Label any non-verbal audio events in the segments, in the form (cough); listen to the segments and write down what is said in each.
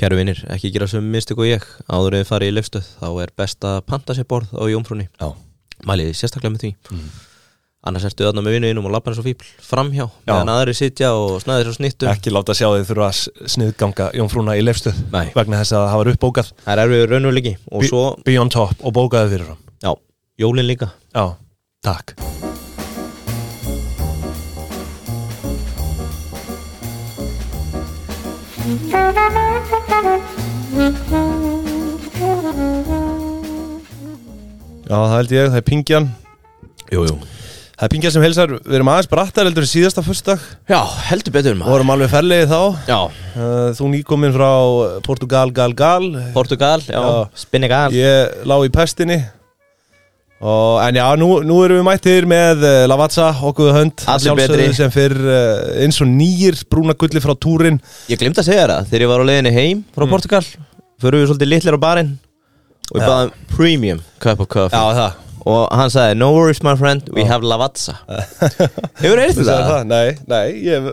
Kæru vinnir, ekki gera sem mistök og ég áður en við farið í lefstöð, þá er best að panta sér borð á jómfrúni Já, Mæliði sérstaklega með því Annars ertu þarna með vinnuðinum og lappar eins og fíbl Framhjá, meðan aðri sitja og snæðir svo snittum ekki láta sjá þið þurfa að s- sniðganga Jónfrúna í lefstuð Nei. vegna þess að það var uppbókað Það er erfiður raunulegi og Be- svo, Be on top og bókaði fyrir hann já, jólin líka Já, takk Já, það held ég, það er Pingjan Jú, jú Það er Pingjan sem helsar, við erum aðeins brattar heldur en síðasta fyrstdag Já, heldur betur og maður vorum alveg ferlegið þá Já, Uh, Þú nýkominn frá Portugal, Gal, Gal Portugal, já, Já. Spinnegal Ég lá í pestinni og, En já, nú, nú erum við mættir með uh, Lavazza, okkur hönd Allir að sjálfsögðu, betri. Sem fyrr uh, eins og nýjir brúna gulli frá túrin Ég glemt að segja þér það, þegar ég var á leiðinni heim frá Portugal Förum við svolítið litlir á barinn og ég Já. baðum premium cup of coffee það og hann sagði no worries my friend, we have (laughs) Lavazza hefur heyrst Þú þetta? sagði það? Nei, nei ég,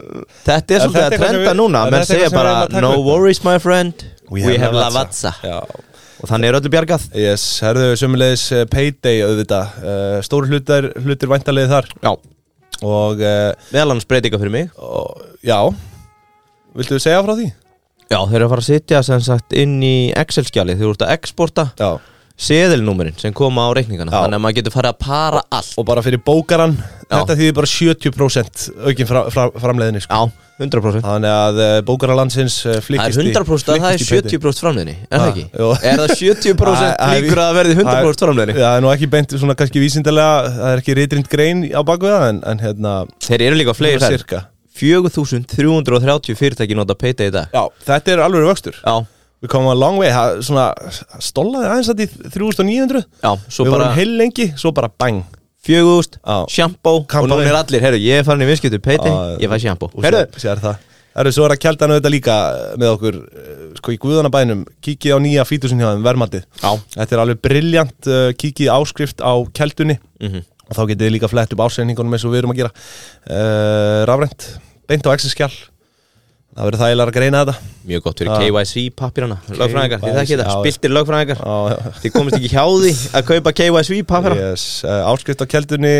þetta er svolítið Er þetta að eitthvað sem trenda við- núna er menn þetta eitthvað segja sem við erum að bara taka no upp? worries my friend we, have Lavazza Já, og þannig er öllu bjargað yes, herðu sömulegis uh, payday auðvitað uh, Stóru hlutir, hlutir væntalegið þar já, Og, uh, meðal hans breytinga fyrir mig og já, viltu segja frá því? já, þeir eru að fara að sitja sem sagt inn í Excel-skjali þeir eru út að exporta Já seðilnúmerin sem koma á reikningana Já. þannig að maður getur farið að para allt Og bara fyrir bókaran, Já. þetta þýðir bara 70% aukin fra, fra, framleiðinni sko. já, 100% Þannig að eh, bókaralansins Það er flikkist 100% að það er 70% framleiðni, er það Ah, ekki? jú. Er það 70% líkur að það verði 100% framleiðni? Það er nú ekki beint svona kannski vísindalega Það er ekki reytrind grein á bakvið það En, en hérna Þeir eru líka fleiri þær cirka. 4330 fyrirtæki nota peita í dag Já, þetta er alveg vöxtur Já, Við komum að long way það, Svona það stólaði aðeins að því 3900 já, svo Við bara vorum heil lengi Svo bara bang 4000, Já. sjampó og Kampavín. núna er allir, herru, ég er farin í vinskjötu peiti, Já, ég fæ sjampó Og Herru, sér, sér það Herru, svo er að kjaldan auðvitað líka með okkur eh, Sko í guðanabænum Kikið á nýja fítusin hjá þeim verðmatið já, Þetta er alveg briljant uh, Kikið í áskrift á keldunni mhm, og þá getið þið líka flett upp ásendingunum eins og við erum að gera uh, rafrænt, beint á Excel-skjál það verður þægilega að greina þetta mjög gott fyrir Já. KYC pappirana Lögfræðingar, þið þekki já, þetta, já. spiltir lögfræðingar á, Þið komist ekki hjá því að kaupa KYC pappirana yes, uh, áskrift á keldunni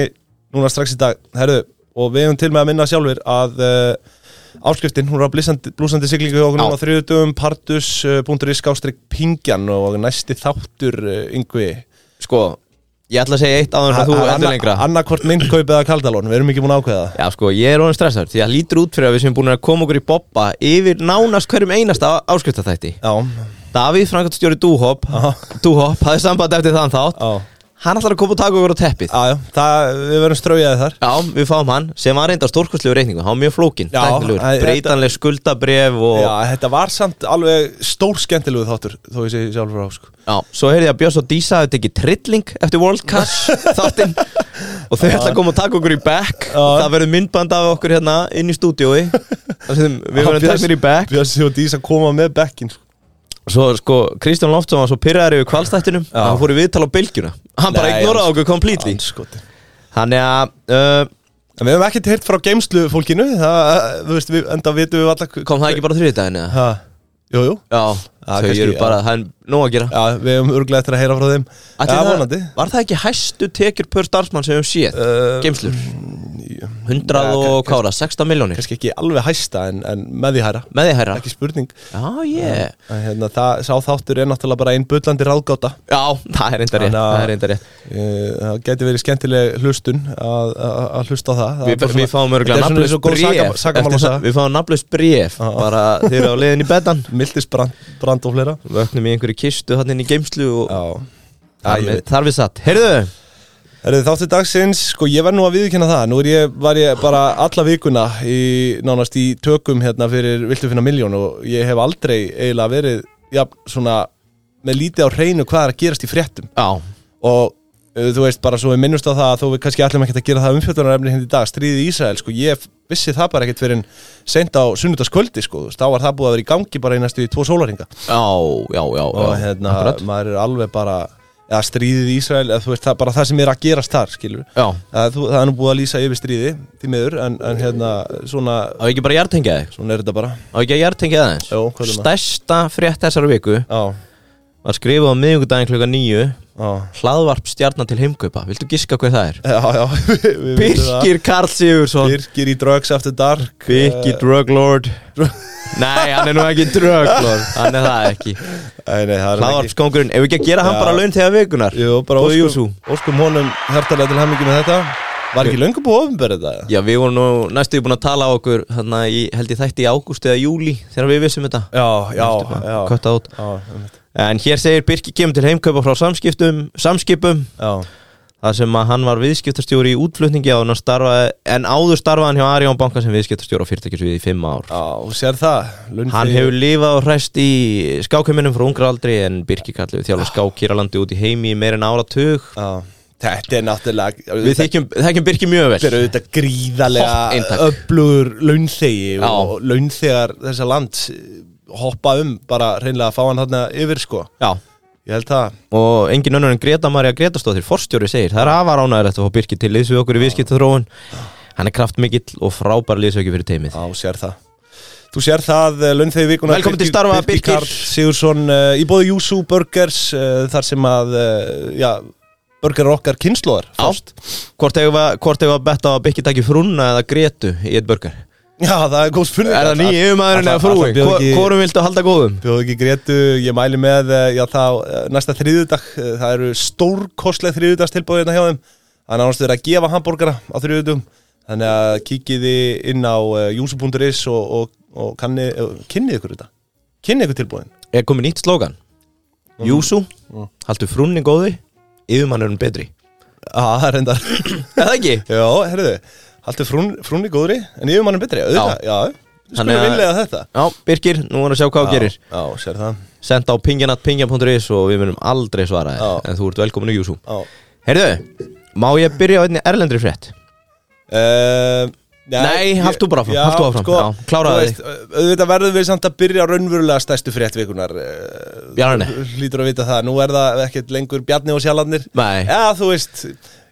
núna strax í dag herðu, og við hefum til með að minna sjálfur að uh, áskriftin, hún er á blísandi, blúsandi siglingu hjá okkur Já. núna á þriðutum partus.is skástrík pingjan og næsti þáttur uh, yngvi Sko, ég ætla að segja eitt áður en að þú endur lengra annarkvort myndkaupið að kaldalón, við erum ekki múin að ákveða það Já sko, ég er orðin stressaður því að lítur út fyrir að við sem búin að koma okkur í boppa yfir nánast hverjum einasta áskriftaþætti já, Davíð, framkvæmtstjóri Dúhop Dúhop, hafði samband eftir þann þátt já, Hann ætlar að koma og taka okkur á teppið já, já það, við verðum straujaði þar Já, við fáum hann sem var reynda stórkostlegu reikningu Hann var mjög flókin, Já, tæknilegur það- Breytanleg skuldabref og Já, Já, þetta var samt alveg stór skemmtilegu þáttur þó ég segi sjálfur á sko. svo heyrði ég að Björns og Dísa hafði tekið trilling eftir World (laughs) Cash þáttinn og þau ætla að koma og taka okkur í back og það verður myndband af okkur hérna inn í stúdiói þar sem við verðum teknir í back Bjössi og Dísa koma með bekkin sko. Svo sko, Kristján Loftsson var svo pyrraður yfir kvalstættinum Já. hann fór í viðtal á bylgjuna hann bara Nei, ignoraði hann- okkur completely Andskotin. Þannig að uh, En við hefum ekkert heyrt frá geimslu fólkinu það, þú veist, við, enda vitum við allar kom það ekki bara þriðdæðin eða? ha, Jú, jú Já, þau kannski, eru já. bara, það er nóg að gera Já, við hefum örglega eftir að heyra frá þeim Ætli Já, það- vonandi Var það ekki hæstu tekjur per starfsmann sem við höfum séð? Uh, Geimslur jú, 100 ja, og kára, 16 miljónir Kannski ekki alveg hæsta en, en með því hæra Með því hæra Ekki spurning Já, ég En hérna, það, Sá þáttur er náttúrulega bara einn bullandi ráðgáta Já, það er enda rétt Þannig að- Það er enda rétt Eh, Það geti verið skemmtileg hlustun að, að, að hlusta á það, það er Við bara við svona- fáum örgulega Þetta er svona eins nafnlaust og góð bréf saka- sakamála eftir saga. það- Við fáum nafnlaust bréf Já. Bara þeir eru á leiðin í betan Mildis brand, brand og fleira Vöknum í einhverju kistu hann inn í geimslu og Já þar við- þar við satt Heyrðu, Er þið þáttu dagsins, sko ég verð nú að viðkynna það Nú er ég, var ég bara alla vikuna í, nánast í tökum hérna fyrir Viltu finna miljón og ég hef aldrei eiginlega verið, já, svona með lítið á hreinu hvað er að gerast í fréttum já og uh, þú veist bara svo við minnumst á það að þó við kannski allir ekki að gera það umfjöldunarefni hindi í dag, stríðið í Ísrael sko, ég f- vissi það bara ekkert fyrir en seint á sunnudagskvöldi sko, þú veist, þá var það búið að vera í gangi bara í næstu í tvo sólaringa Já, já, já, og já. hérna, Akkurat. maður er alveg bara eða stríðið í Ísrael eða þú veist, það, bara það sem er að gerast þar skilur Já, það, þú, það er nú búið að lýsa yfir stríði því miður, en, en hérna svona, á ekki bara jartengja þig svona er þetta bara Á ekki að jartengja aðeins Jó, hvað er maður? Stærsta frétt þessar viku Já, var skrifað á miðvikudaginn klukka nýju já Hlaðvarp stjarnan til heimkaupa Viltu giska hver það er? Já, (laughs) já, við, við vitum það. Birkir Karl Sigursson Birgir í Drugs After Dark Birkir Druglord Nei, hann er nú ekki Druglord Hann er það ekki Nei, nei, það er hann ekki Hlaðvarpskongurinn Ef við ekki að gera hann Já. bara laun þegar vikunar Jú, bara Góðu óskum, óskum honum hærtalega til hammingi með þetta Var ekki löngu búið ofinberð þetta? Já, við vorum nú næstu búin að tala á okkur Þannig að ég held ég þætti í ágúst eða júli Þegar við vissum þetta Já, já, já Kött át Já, einmitt. En hér segir Birkir kemur til heimkaupa frá samskiptum, samskipum já, þar sem að hann var viðskiptastjóri í útflutningi áður en, hann starfaði, en áður starfaði hann hjá Arjón Banka sem viðskiptastjóri á fyrirtækisviði í fimm ár. já, sér það Lundfyrir. Hann hefur lifað og hræst í skákjöminum frá ungra aldri en Birkir kallið þjálfa skákýralandi út í heimi í meir en áratug. Já, þetta er náttúrulega Við þekkjum, þekkjum Birkir mjög Þetta er vel. auðvitað Hopp gríðalega eintak. öflugur launþegi Já. og launþegar þessa land hoppa um bara reynlega að fá hann þarna yfir sko Já, Ég held það og engin önnur en Greta Maria Gretastóttir, forstjóri segir, það er afar ánægilegt að fá Birkir til liðs við okkur í viðskiptaþróun. Hann er kraftmikill og frábær liðsauki fyrir teimið. Já, sér það Þú sér það, eh, launþegi vikuna Velkomin til starfa, Birgir. Sigursson, uh, í bóði Júsú Burgers uh, Þar sem að, uh, já, burgerar okkar kynnslóðar Ást Hvort hefur að, hvort hefur að betta á að Bikki taki frúna eða Gretu í eitt börgar? Já, það er góð spurning Er það nýi yfirmaðurinn eða frúin? Hvor- Hvor Hvorum viltu halda góðum? Bjóðu ekki grétu, ég mæli með, eh, já þá, eh, næsta þriðudag, eh, það eru stórkostleg þriðudags tilbúið hérna hjá þeim, það er nánast verið að gefa hambúrgara á þriðudum, þannig að kíkiði inn á eh, júsu.is og, og, og kanni, eh, kynnið ykkur þetta, kynnið ykkur tilbúin. Er komið nýtt slógan? Mhm. Júsú, haldu frúnni góði, yfirmannurinn betri Já, það er reyndar, Er það ekki? já, herruðu, haldur frún, frúnni góðri, en yfirmannum betri, auðvitað, já, já Þannig skulum að- vilja þetta. Já, Birgir, nú erum við að sjá hvað þú Já, gerir Já, sér það, Send á pingjanatpingja.is og við munum aldrei svara þér Já. En þú ert velkominu Júsú já. Heyrðu, má ég byrja á einni erlendri frétt? Uh, Nei, haft þú bara áfram, haft þú áfram, já, kláraðu sko, þú veist, Auðvitað verðum við samt að byrja á raunverulega stæstu fréttvikunar eh, Bjarni? Hlýtur að vita það, nú er það ekkert lengur Bjarni og Sjalandir Nei. Já, þú veist,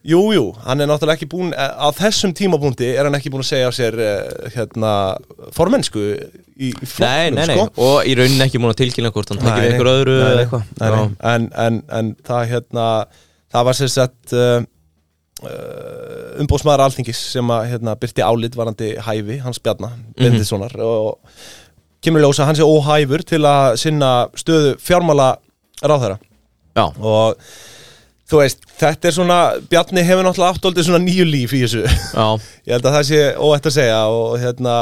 jú, jú, hann er náttúrulega ekki búin eh, Á þessum tímabúndi er hann ekki búin að segja á sér eh, Hérna, formennsku í, í Nei, flokknum, nei, nei, sko. og í rauninni ekki múin að tilkynna hvort hann tekið við Nei, ykkur öðru nei, eða nei, eitthvað nei, nei. Já. en, en, en það hérna það var sem sagt uh, umbóðsmaður alþingis sem að hérna, byrti álit varandi hæfi hans Bjarna Mhm. Bendissonar og kemur í ljós að hann sé óhæfur til að sinna stöðu fjármála ráðherra Já, og þú veist, þetta er svona Bjarni hefur náttúrulega áttóldi svona nýju líf í þessu já ég held að það sé óætt að segja og hérna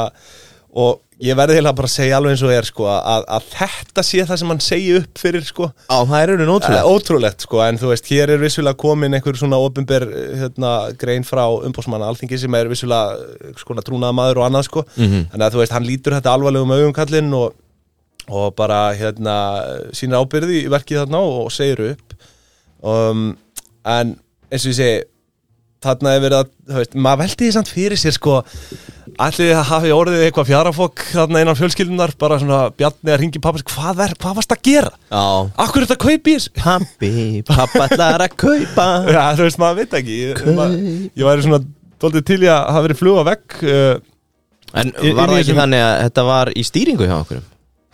og ég verði heila bara að segja alveg eins og er sko að, að þetta sé það sem hann segi upp fyrir sko Já, það er auðvitað Eh, ótrúlega ótrúlegt sko en þú veist hér er vissulega komin einhver svona ofinber hérna, grein frá umbósmanna alþingi sem er vissulega eh, skona trúnaða maður og annað sko þannig að þú veist hann lítur þetta alvarlegum augum kallinn og, og bara hérna sína ábyrði í verkið þarna og, og segir upp um, en eins og ég segi þarna er verið að, þú veist, maður veldi því samt fyrir sér sko, allir það hafi orðið eitthvað fjarafokk þarna innan fjölskyldunar bara svona bjarni að ringi pappis hvað, er, hvað varst að gera? Já Akkur er þetta að kaupa í þessu? Pappi, pappa ætlar að kaupa Já, þú veist, maður veit ekki Ég, maður, ég væri svona doldið til í að hafa verið fluga vekk uh, En var Í- í það ekki þessum- þannig að þetta var í stýringu hjá okkur? um,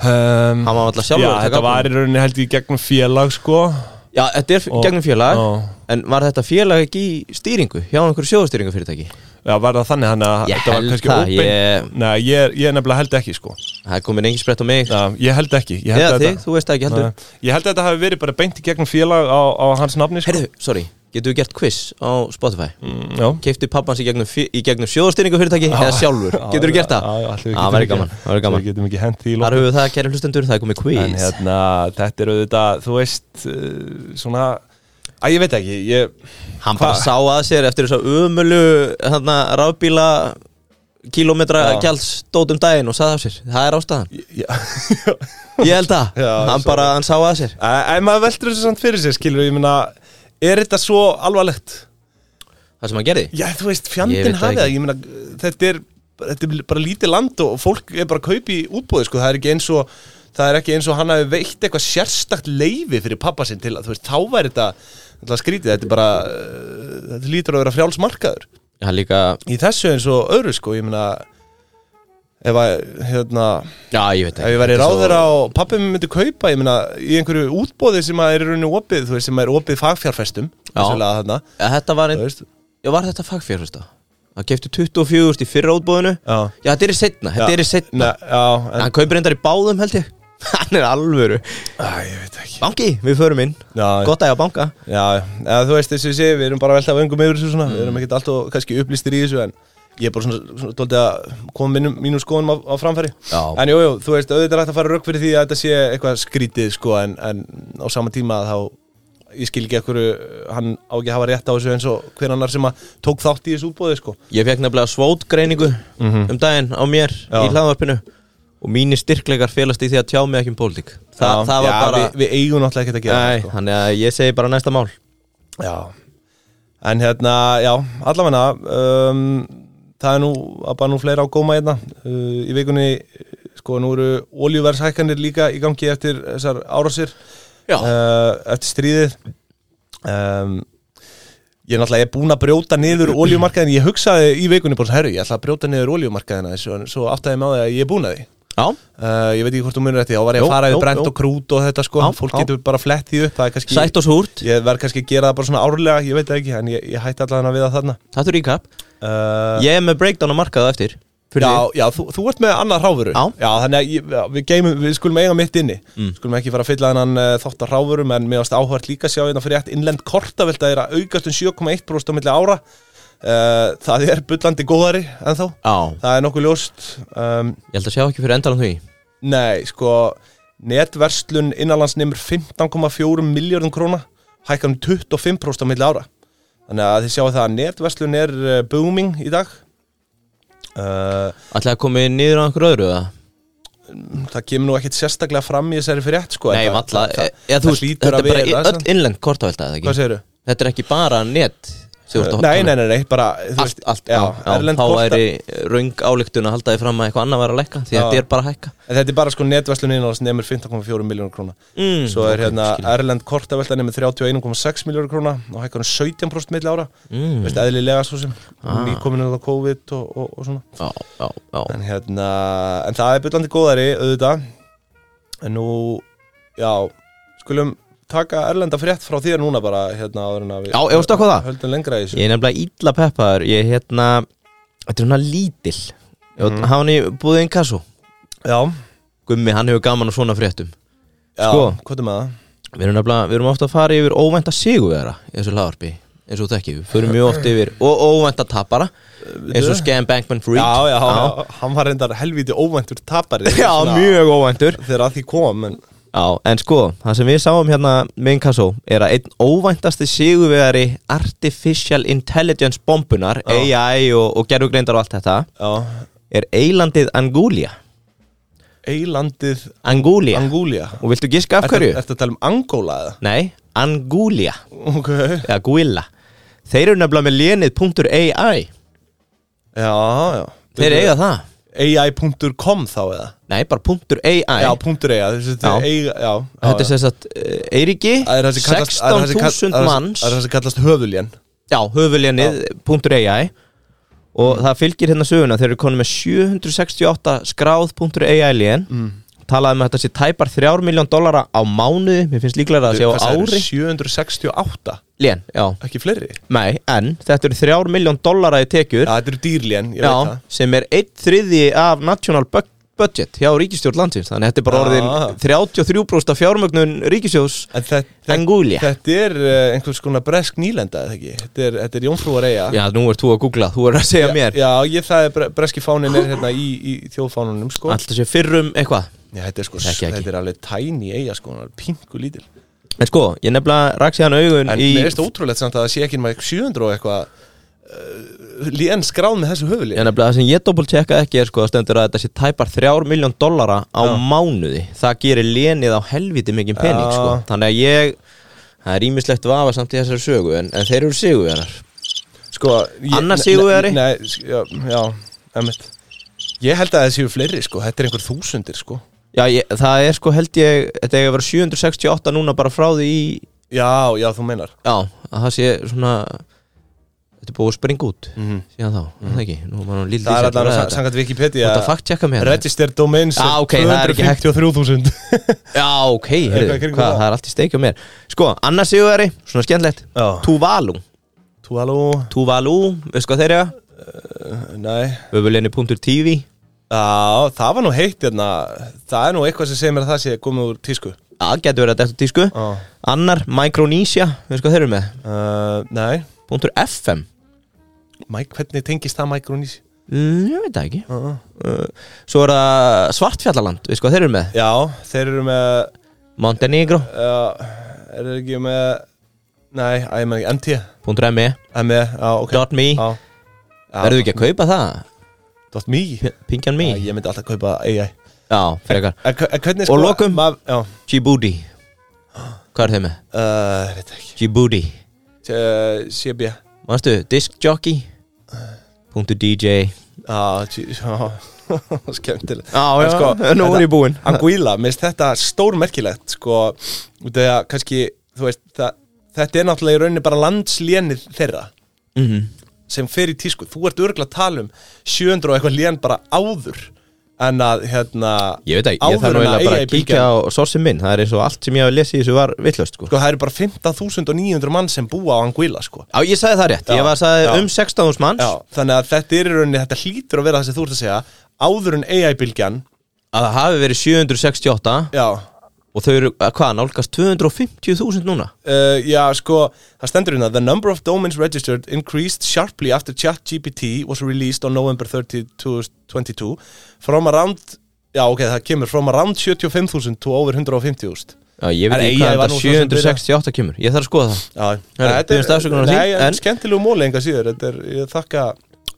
Hann var alltaf Já, sjálfur að taka þetta var í rauninni held ég gegnum félag sko Já, þetta er Og- gegnum félag Já. En var þetta félag ekki í stýringu? Hjá einhverju sjóðstýringu fyrirtæki? Já, var það þannig hann að Ég þetta var held kannski það, óbein ég- Nei, ég, ég nefnilega held ekki sko Það er komin engin sprett á mig Já, ég held ekki Ég held Eða að þig, þetta- þú veist það ekki heldur Nei. Ég held að þetta hafi verið bara beint í gegnum félag á, á hans nafni sko. Herðu, sorry, getur við gert quiz á Spotify? Mm, Já Keifti pappans í gegnum, fé- í gegnum sjóðstýringu fyrirtæki eða sjálfur? Já, Getur við gert það? Já, já, allir við Já, getum væri ekki- gaman, væri gaman. Við getum ekki hent því í Þar höfum við það, kæri hlustendur, það er komið quiz En hérna, þetta er auðvitað, þú veist, uh, svona, að ég veit ekki, ég, Hann bara Hva? sá að sér eftir þess að ömulu hana, rafbíla kilometra Já. gjalds dótum daginn og sagði af sér, það er (laughs) ástæðan ég, já, Ég held það, Já, hann svo- bara hann sá að sér en maður veldur þessu samt fyrir sér, skilur, ég meina, er þetta svo alvarlegt? Það sem hann gerði Já, þú veist, Ég veit fjandinn það ekki. hafið það, ég meina, þetta er, þetta er bara lítið land og fólk er bara að kaupa í útbúði, sko, það er ekki eins og, það er ekki eins og hann hafi veitt eitthvað sérstakt leifi fyrir pappa sinn til að, þú veist, þá væri þetta alltaf skrítið, þetta er bara uh, þetta lítur að vera frjálsmarkaður hann líka, í þessu eins og öðru sko, ég meina ef að, hérna já ég veit ef ekki ég væri þetta er svo- ráður á, pappi mér myndi kaupa ég meina, í einhverju útbóði sem að er í rauninni opið, þú veist, sem er opið fagfjárfestum Já. vissulega þarna, Ja, þetta var, þú ein, veist já, var þetta fagfjörfesta hann kefti 24.000 í fyrra útbóðinu já, já þetta er í setna, þetta Já. er í setna Nei, já, en, hann kaupir endar í báðum held ég (laughs) hann er alvöru Æ, ég veit ekki banki, við förum inn, já, gott að ég að banka Já, eða þú veist þessi sé, við erum bara að velta vöngum yfir þessu svona, Mm. við erum ekkert alltaf kannski upplýstir í þessu en ég er bara svona, svona tóldi að koma mínum, mínum skoðunum á, á framfæri Já. En jú, jú, þú veist, auðvitað er hægt að fara rauk fyrir því að þetta sé eitthvað skrítið sko en, en á sama tíma þá ég skil ekki ekkur hann á ekki að hafa rétt á þessu eins og hver annar sem að tók þátt í þessu útbóði sko ég fekk nefnilega svótgreiningu um daginn á mér Mhm. Já. í hlaðvarpinu og mínir styrkleikar félast í því að tjá mig ekki um pólitík Þa, Já, það var já, bara við, við eigum náttúrulega ekkert að gera það, Nei, sko. þannig að ég segi bara næsta mál Já, en hérna, já, allavega um, það er nú að bara nú fleira á góma hérna uh, í vikunni, sko, nú eru oljuverðshækkanir líka í gangi eftir þessar árásir Já. uh, eftir stríðið um, Ég er náttúrulega ég er búinn að brjóta niður oljumarkaðin Ég hugsaði í vikunni bara, herru, ég ætla að brjóta niður oljumarkaðina Svo, svo áttaði ég með það að ég er búinn að því Já, uh, Ég veit ekki hvort þú munir þetta, þá var ég Jú, að fara jú, yfir brent jú. og krút og þetta sko Já, Fólk já. getur bara flett því upp, það er kannski sætt og súrt, Ég verð kannski að gera það bara svona árlega, ég veit það ekki, en ég, ég hætti allavega að við það þarna. þetta er íkapp Uh, Ég er með breakdown á markaðu eftir fyrir já, þig. já, þú, þú ert með annað ráfuru. Já. Mm. þannig að ég, já, við, geymum, við skulum eiga mitt inni. Skulum ekki fara að fylla þennan uh, þótt að ráfurum, en mér varst áhvert líka að sjá hérna fyrir eitt innlend kortavelta er að aukast um 7,1% á milli ára. Uh, það er bullandi góðari en þá. já, Það er nokkuð ljóst. Um, ég held að sjá ekki fyrir endalan því Nei, sko netverslun innanlands neymur 15,4 miljardum króna hækkar um 25% á milli ára þannig að þið sjáu það að netverslun er eh, booming í dag uh, Ætlaði að komi niður á einhverju öðru eða? það kemur nú ekkit sérstaklega fram í þessari frétt sko Nei, en það- valla það- Eða þú það veist, hlýtur þetta að er bara vera, í- öll sant? innlend kortavelta eða hvað ekki segirðu? Eh, Þetta er ekki bara net sem þú ert að Nei, tala um. nei, nei, nei, bara þú allt, allt, já, já, já, erlend þá korta- væri raung ályktun að halda því fram að eitthvað annað var að lækka því Já. að þetta er bara að hækka En þetta er bara sko netverslun innanlands neymur 15,4 miljónur króna mm, Svo er hérna Erlend kortavelta neymur 31,6 miljónur króna og hækkar um 17% milli ára mm, veist, eðlilega svo sem Ah. nýkominu á COVID og, og, og svona já, já, já, en, hérna, en það er byllandi góðari auðvitað en nú, já, skulum taka Erlenda frétt frá þér núna bara hérna áður en að við Já, ég veist að hvað það? höldum lengra í þessu ég er nefnilega ítla peppaður ég er hérna, þetta er hérna lítil ég mm. hafa hann í búið einn kassu Já, Gummi, hann hefur gaman á svona fréttum já, Sko. hvað er með það? við erum nefnilega, við erum ofta að fara yfir óvænta sigurvera í þessu lagarpi eins og þekki, við förum mjög oft yfir og óvænta tapara eins og Scam Bankman Freak Já, já, já, hann var reyndar helviti óvæntur tapari já, mjög óvæntur Þegar að því kom, en Já, en sko, það sem við sáum hérna með Inkasso er að einn óvæntasti sigurvegari Artificial Intelligence bombunar, AI og, og gerðugreindar og allt þetta já, er eilandið Angulia Eilandið Angulia, Angúlia og viltu giska af hverju? Ertu að tala um Angóla eða? Nei, Angulia, Ok eða Guilla Þeir eru nefnilega með lénið .ai Já, já Þeir eiga það AI.com þá eða? Nei, bara .ai Já, punktur eiga þessi, Já. Eiga, já, já, Þetta er já. sem sagt uh, Eiríki, Það er það sem kallast- það er það sem kall- 16.000 það er það sem- manns Það er það sem kallast höfuljen Já, höfuljanið.ai og það fylgir hérna söguna þeir eru konum með 768 skráð.ai lén mm. talaði um að þetta sé tæpar 3 miljón dollara á mánuði, mér finnst líklega að það sé á Hvað sagðirðu, ári 768, lén, já, ekki fleiri nei, en þetta eru 3 miljón dollara í tekjur Já, þetta eru dýrljen, ég veit já, það sem er 1 þriði af national bu- budget hjá ríkistjórn landsins, þannig að þetta er bara Já. orðin 33% af fjármögnun ríkistjóðs En þetta, þetta, Angúlia þetta er eh, einhvers konar bresk nýlenda, eða ekki? Þetta er, þetta er Jónfrúar eiga Já, nú ert þú að googla, þú er að segja mér Já, ég það er bre, breski fánin er hérna í, í þjóðfánunum, sko Alltaf sé fyrrum eitthvað Já, þetta er sko, Þekki ekki. þetta er alveg tæni eiga, sko, hann er pingu lítil En sko, ég nefnilega rak síðan augun En í mér finnst ótrúlegt samt að það sé ekki nema 700 og eitthvað uh, lén skráð með þessu höfuljen Ég nefnilega það sem ég doppeltjekkaði ekki er sko að stendur að þetta sé tæpar 3 miljón dollara á mánuði Það gerir lénið á helviti mikið pening Já. sko Þannig að ég, það er ímislegt vafa samt í þessari sögu En, en þeir eru sigurverðar Sko ég- Annar ne- sigurvegari? Nei, sk- já, já, emmitt Ég held að það séu fleiri, sko, þetta er einhver þúsundir, sko Já, ég, það er sko held ég Þetta er að vera 768 núna bara frá því í Já, já, þú meinar Já, að það sé svona Þetta er búið að springa út Mhm. Síðan þá, mm það ekki Nú er maður lítið að Það er ræða allavega þetta sangat Þú Wikipedia ert að fakt checka mig hérna Registered domains Já, ok, það er ekki hægt. 253.000 Já, ok, heyrðu, Eitthvað í kringum hvað, það. það er allt í steikja mér Sko, annars sigurveri, svona skemmtlegt Já. (laughs) Tuvalu Tuvalu Tuvalu, veistu hvað þeir eru? Nei Öfuleinu.tv Já, það var nú heitt hérna Það er nú eitthvað sem segir mér að það sé komið úr tísku Það getur verið að þetta tísku Já sko. Annar, Micronesia, veistu hvað þeir eru með? uh, Nei Punktur .fm Mike, hvernig tengist það Micronesia? Mm, ég veit það ekki Uh -uh. uh, Svo er það Svartfjallaland, veistu hvað þeir eru með? Já, þeir eru með Montenegro, uh, Er þeir ekki með Nei, að ég með ekki MT punktur .me, ME, já, ok dot .me Já. Já, Verðu ekki að kaupa það? Dot me P- Pingjan me Já, Ég myndi alltaf kaupa AI Já, frekar En, en hvernig Og lokum. mað, Já, Djibouti Hvað er þeim með? uh, veit ekki Djibouti T- CB Manstu, diskjockey Punktur .dj Já, (laughs) tj- já, skemmtileg Já, En sko, (laughs) nú er þetta- ég búinn Anguilla, mér finnst þetta stórmerkilegt sko, út af því að kannski þú veist, það, þetta er náttúrulega í rauninni bara landslénið þeirra Mhm. sem fer í tísku, þú ert örgulega að tala um 700 og eitthvað lén bara áður en að hérna Ég veit ekki, ég þarf áður nú en eiginlega bara að AI-bylgjan- kíkja á sorsin minn Það er eins og allt sem ég hafi lesið í þessu var vitlaust sko. sko, það eru bara 15.900 mann sem búa á Anguilla sko. Já, ég sagði það rétt, Já, ég var að sagði já. um 16.000 manns Já, þannig að þetta er í rauninni, þetta hlýtur að vera það sem þú ert að segja áður en AI-bylgjan Að það hafi verið 768 já, Og þau eru, að hvað, nálgast 250.000 núna uh, já, sko, það stendur hérna The number of domains registered increased sharply after ChatGPT was released on November 30, 2022 from around, já ok, það kemur from around 75.000 to over 150.000 Já, ég veit En ekki AI hvað var þetta nú svo sem byrjað. 768 kemur Ég þarf að skoða það Já, Herra, biðjumst afsökunar á því, nei, en, en- en skemmtilegu móli enga síður, þetta er, ég þakka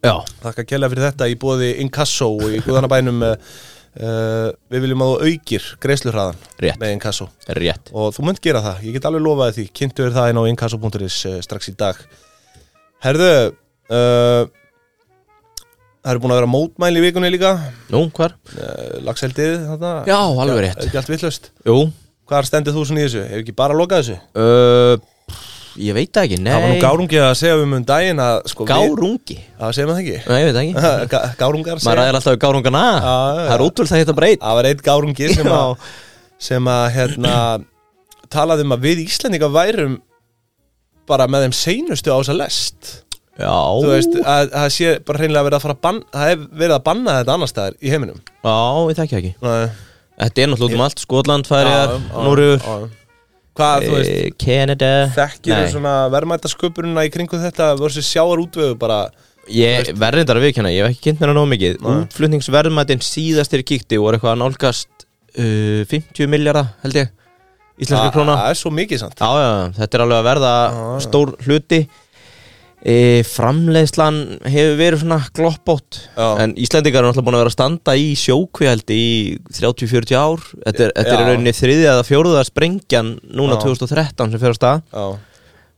Já, Þakka kjærlega fyrir þetta í bóði Inkasso og í Guðanabænum uh, uh, Við viljum að þú aukir greiðsluhraðan Rétt. með Inkasso rétt og þú munt gera það, ég get alveg lofaði því kynntu er það inn á inkasso.is eh, strax í dag Herðu uh, Það eru búin að vera mótmæli í vikunni líka Nú, hvar? uh, Lagseldið þarna Já, alveg rétt Er ekki allt vitlaust Jú, Hvar stendur þú svona í þessu? Hefur ekki bara lokað þessu? uh, ég veit það ekki, nei Það var nú gárungi að segja um um daginn að sko, við- Gárungi? Já, segir maður (laughs) það Nei, ég veit það ekki ekki Gá- Gárungar Maður segja ræðir alltaf við gárungana já, já. Það er hérna útvöld að þetta breyt Það var eitt gárungi sem að sem að hérna talaði um að við Íslendinga værum bara með þeim seinustu á þessa lest Já þú veist, að það sé bara hreinlega verið að fara að banna það hef verið að banna þetta annar staðar í heiminum Já, ég þekki það ekki Nei. Þetta er náttúrulega út um allt Skotland, Færiðar, Já, já, Núriður já. Eh, Hvað, þú veist, Canada þekkir nei. þú svona verðmættasköpununa í kringu þetta versus sjáar útvegu bara Ég verðindar að viðkjanna, ég hef ekki kynnt mér að nóg mikið Útflutningsverðmætin síðast þegar ég kíkti voru eitthvað að nálgast uh, 50 miljardar held ég Íslenska Að- króna að það er svo mikið samt Já, já, þetta er alveg að verða Já, já. stór hluti e, Framleiðslan hefur verið svona gloppótt Já. En Íslendingar eru náttúrulega búin að vera að standa í sjókvíhaldi í 30-40 ár Þetta er, þetta er í Já. rauninni þriðja eða fjóruða sprengjan núna Já. 2013 sem fer á stað Já,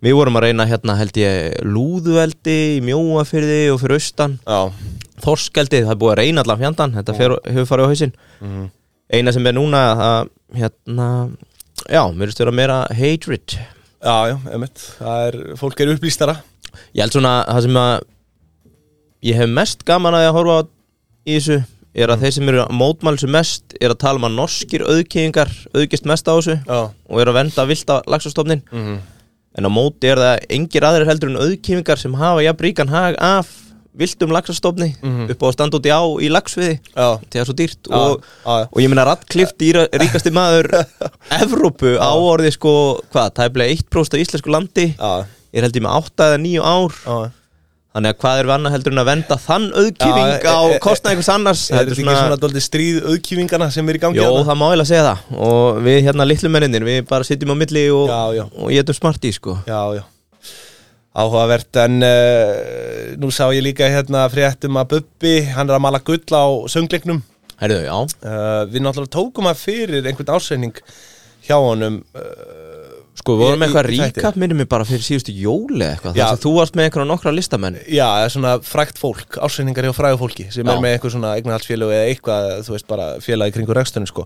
Við vorum að reyna hérna held ég lúðuveldi í mjóafyrði og fyrir austan já, Þorskeldi, það er búið að reyna allan fjandan Þetta fer, hefur farið á hausinn Mhm. Eina sem er núna að hérna Já, mér er störa meira hatred já, já, emitt Það er, fólk er upplýstara Ég held svona það sem að ég hef mest gaman að ég horfa á í þessu er að Mm. þeir sem eru mótmælsu mest er að tala um að norskir auðkýðingar auðgist mest á þessu Já, og eru að venda vilda lagsastofnin mhm, en á móti er það engir aðrir heldur en auðkýðingar sem hafa jafnríkan hag af vildum lagsastofni Mhm. upp á að standa út í á í lagsviði já, þegar svo dýrt já, og, já, og ég meina Radcliffe dýra, ríkasti maður (laughs) Evrópu á orði sko hvað, það er bleið 1% af íslensku landi já, ég held ég með 8 eða 9 ár já Þannig að hvað er við annað heldur en að venda þann auðkýfing Já, á e- e- kostnað einhvers annars Er Þetta þetta ekki svona daldið stríð auðkýfingarna sem er í gangi? hérna? Jó, þarna? það má eiginlega segja það Og við hérna litlu menninir, við bara sitjum á milli og, Já, já. og getum smart í sko Já, já Áhugavert, en uh, nú sá ég líka hérna fréttum að Bubbi, hann er að mala gull á söngleiknum Eh, Herðu, já uh, Við náttúrulega tókum að fyrir einhvern ásreining hjá honum uh, Sko, við vorum Ég- með eitthvað í þætti. recap minnum mig bara fyrir síðustu jóli eitthvað Já. þar sem þú varst með einhverja nokkra listamenn Já, það er svona frækt fólk, ásynningar hjá fræðu fólki sem Já. er með eitthvað svona eignarhaldsfélög eða eitthvað, þú veist, bara félagi kringur reksturinn, sko.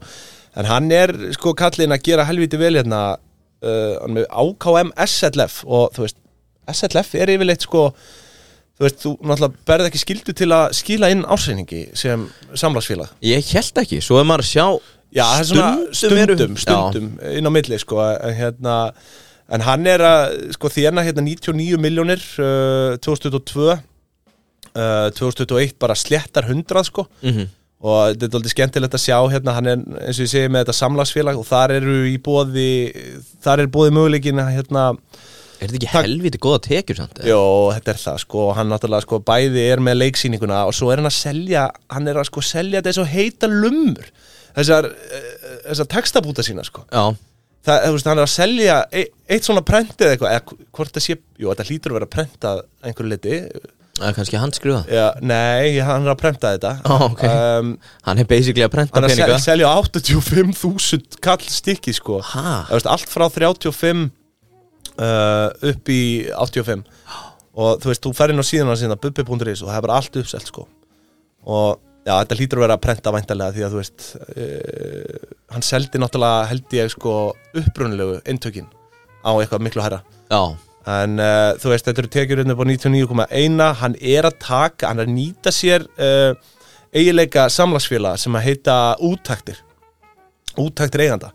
En hann er, sko, kallinn að gera helviti vel hérna uh, hann er með AKM SLF og, þú veist, SLF er yfirleitt, sko, þú veist, þú náttúrulega berð ekki skildu til að skila inn ásynningi sem samlagsfélag. Ég held ekki, svo er maður að sjá Já, það er svona Stundum eru- stundum, stundum inn á milli sko, en, hérna, en hann er að sko, þérna hérna 99 miljónir uh, 2002 uh, 2021 bara sléttar 100 sko Mhm. og þetta er aldrei skemmtilegt að sjá hérna, hann er eins og ég segi með þetta samlagsfélag og þar eru í bóði þar er bóði möguleikin að hérna, Er þetta ekki Takk. helviti góða tekjur samt? eða? Jó, þetta er það sko og hann náttúrulega sko bæði er með leiksýninguna og svo er hann að selja hann er að sko selja þetta eins og heita lumur þessar, eh, þessar textabúta sína sko Já, það, þú veist, hann er að selja e eitt svona prentið eða eitthvað, eða hvort það sé jú, þetta hlýtur að vera prentað að einhverju liti það er kannski handskrifa já, nei, hann er að prenta þetta Ó, ok. um, Hann er basically að prenta hann er að peninga sel selja 85.000 kall stikki sko, Ha? Þú veist, allt frá 35 uh, upp í 85 og þú veist, þú fer inn á síðan síðan bubbi.is og það er bara allt uppselt sko og já, þetta hlýtur að vera að prenta væntalega því að þú veist uh, hann seldi náttúrulega held ég sko upprunalegu inntökin á eitthvað miklu herra Já, en uh, þú veist, þetta eru tekjur hérna upp á 99,1 hann er að taka, hann er að nýta sér uh, eigileika samlagsfélaga sem að heita úttaktir úttaktir eiganda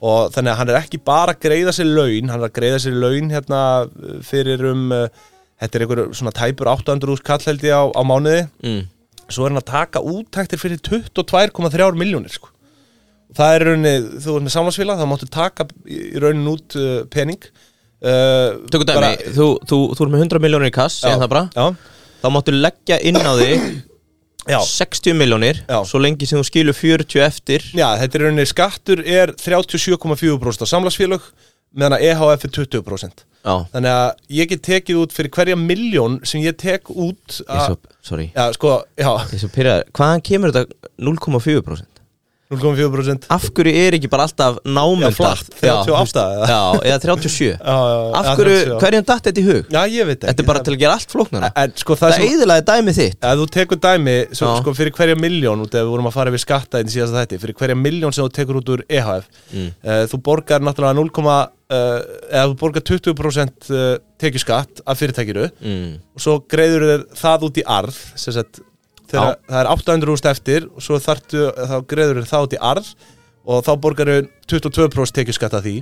og þannig að hann er ekki bara að greiða sér laun hann er að greiða sér laun hérna uh, fyrir um, uh, þetta er einhver svona tæpur 800 úr kall held ég á, á mánuði mm. svo er hann að taka úttaktir fyrir 22,3 miljónir sko. það er í rauninni, þú er með samlagsfélag það máttu taka í í rauninni út uh, pening uh, Tökum dæmi, bara- þú, þú, þú er með 100 miljónir í kass, segjum það bara já, Þá máttu leggja inn á þig já. 60 miljónir Já. Svo lengi sem þú skilur 40 eftir já, þetta er í rauninni skattur er 37,4% á samlagsfélög meðan að EHF er 20% Já, þannig að ég get tekið út fyrir hverja miljón sem ég tek út ég er að, svo, sorry já, sko, já, Ég er svo pyrraður, hvaðan kemur þetta 0,4%? 0,4% Af hverju er ekki bara alltaf námyndað? Já, flatt, 38 eða? Já, eða 37 Já, já, já, Af hverju, 37. hverjum datt þetta í hug? já, ég veit ekki Þetta er bara til að gera allt flóknara en sko það, Það sem eðilaði dæmið þitt Ef þú tekur dæmi, svo, Já. sko, fyrir hverja miljón út ef við vorum að fara við skatta inn í síðasta þætti fyrir hverja miljón sem þú tekur út úr EHF mm. þú borgar náttúrulega 0, uh, eða þú borgar 20% uh, tekjuskatt af fyrirtækiru mm. og svo greiður þér það út í arð sem sagt, þegar það er 800 úrst eftir og svo þartu, þá greiður þér það út í arð og þá borgar þér 22% tekjuskatt af því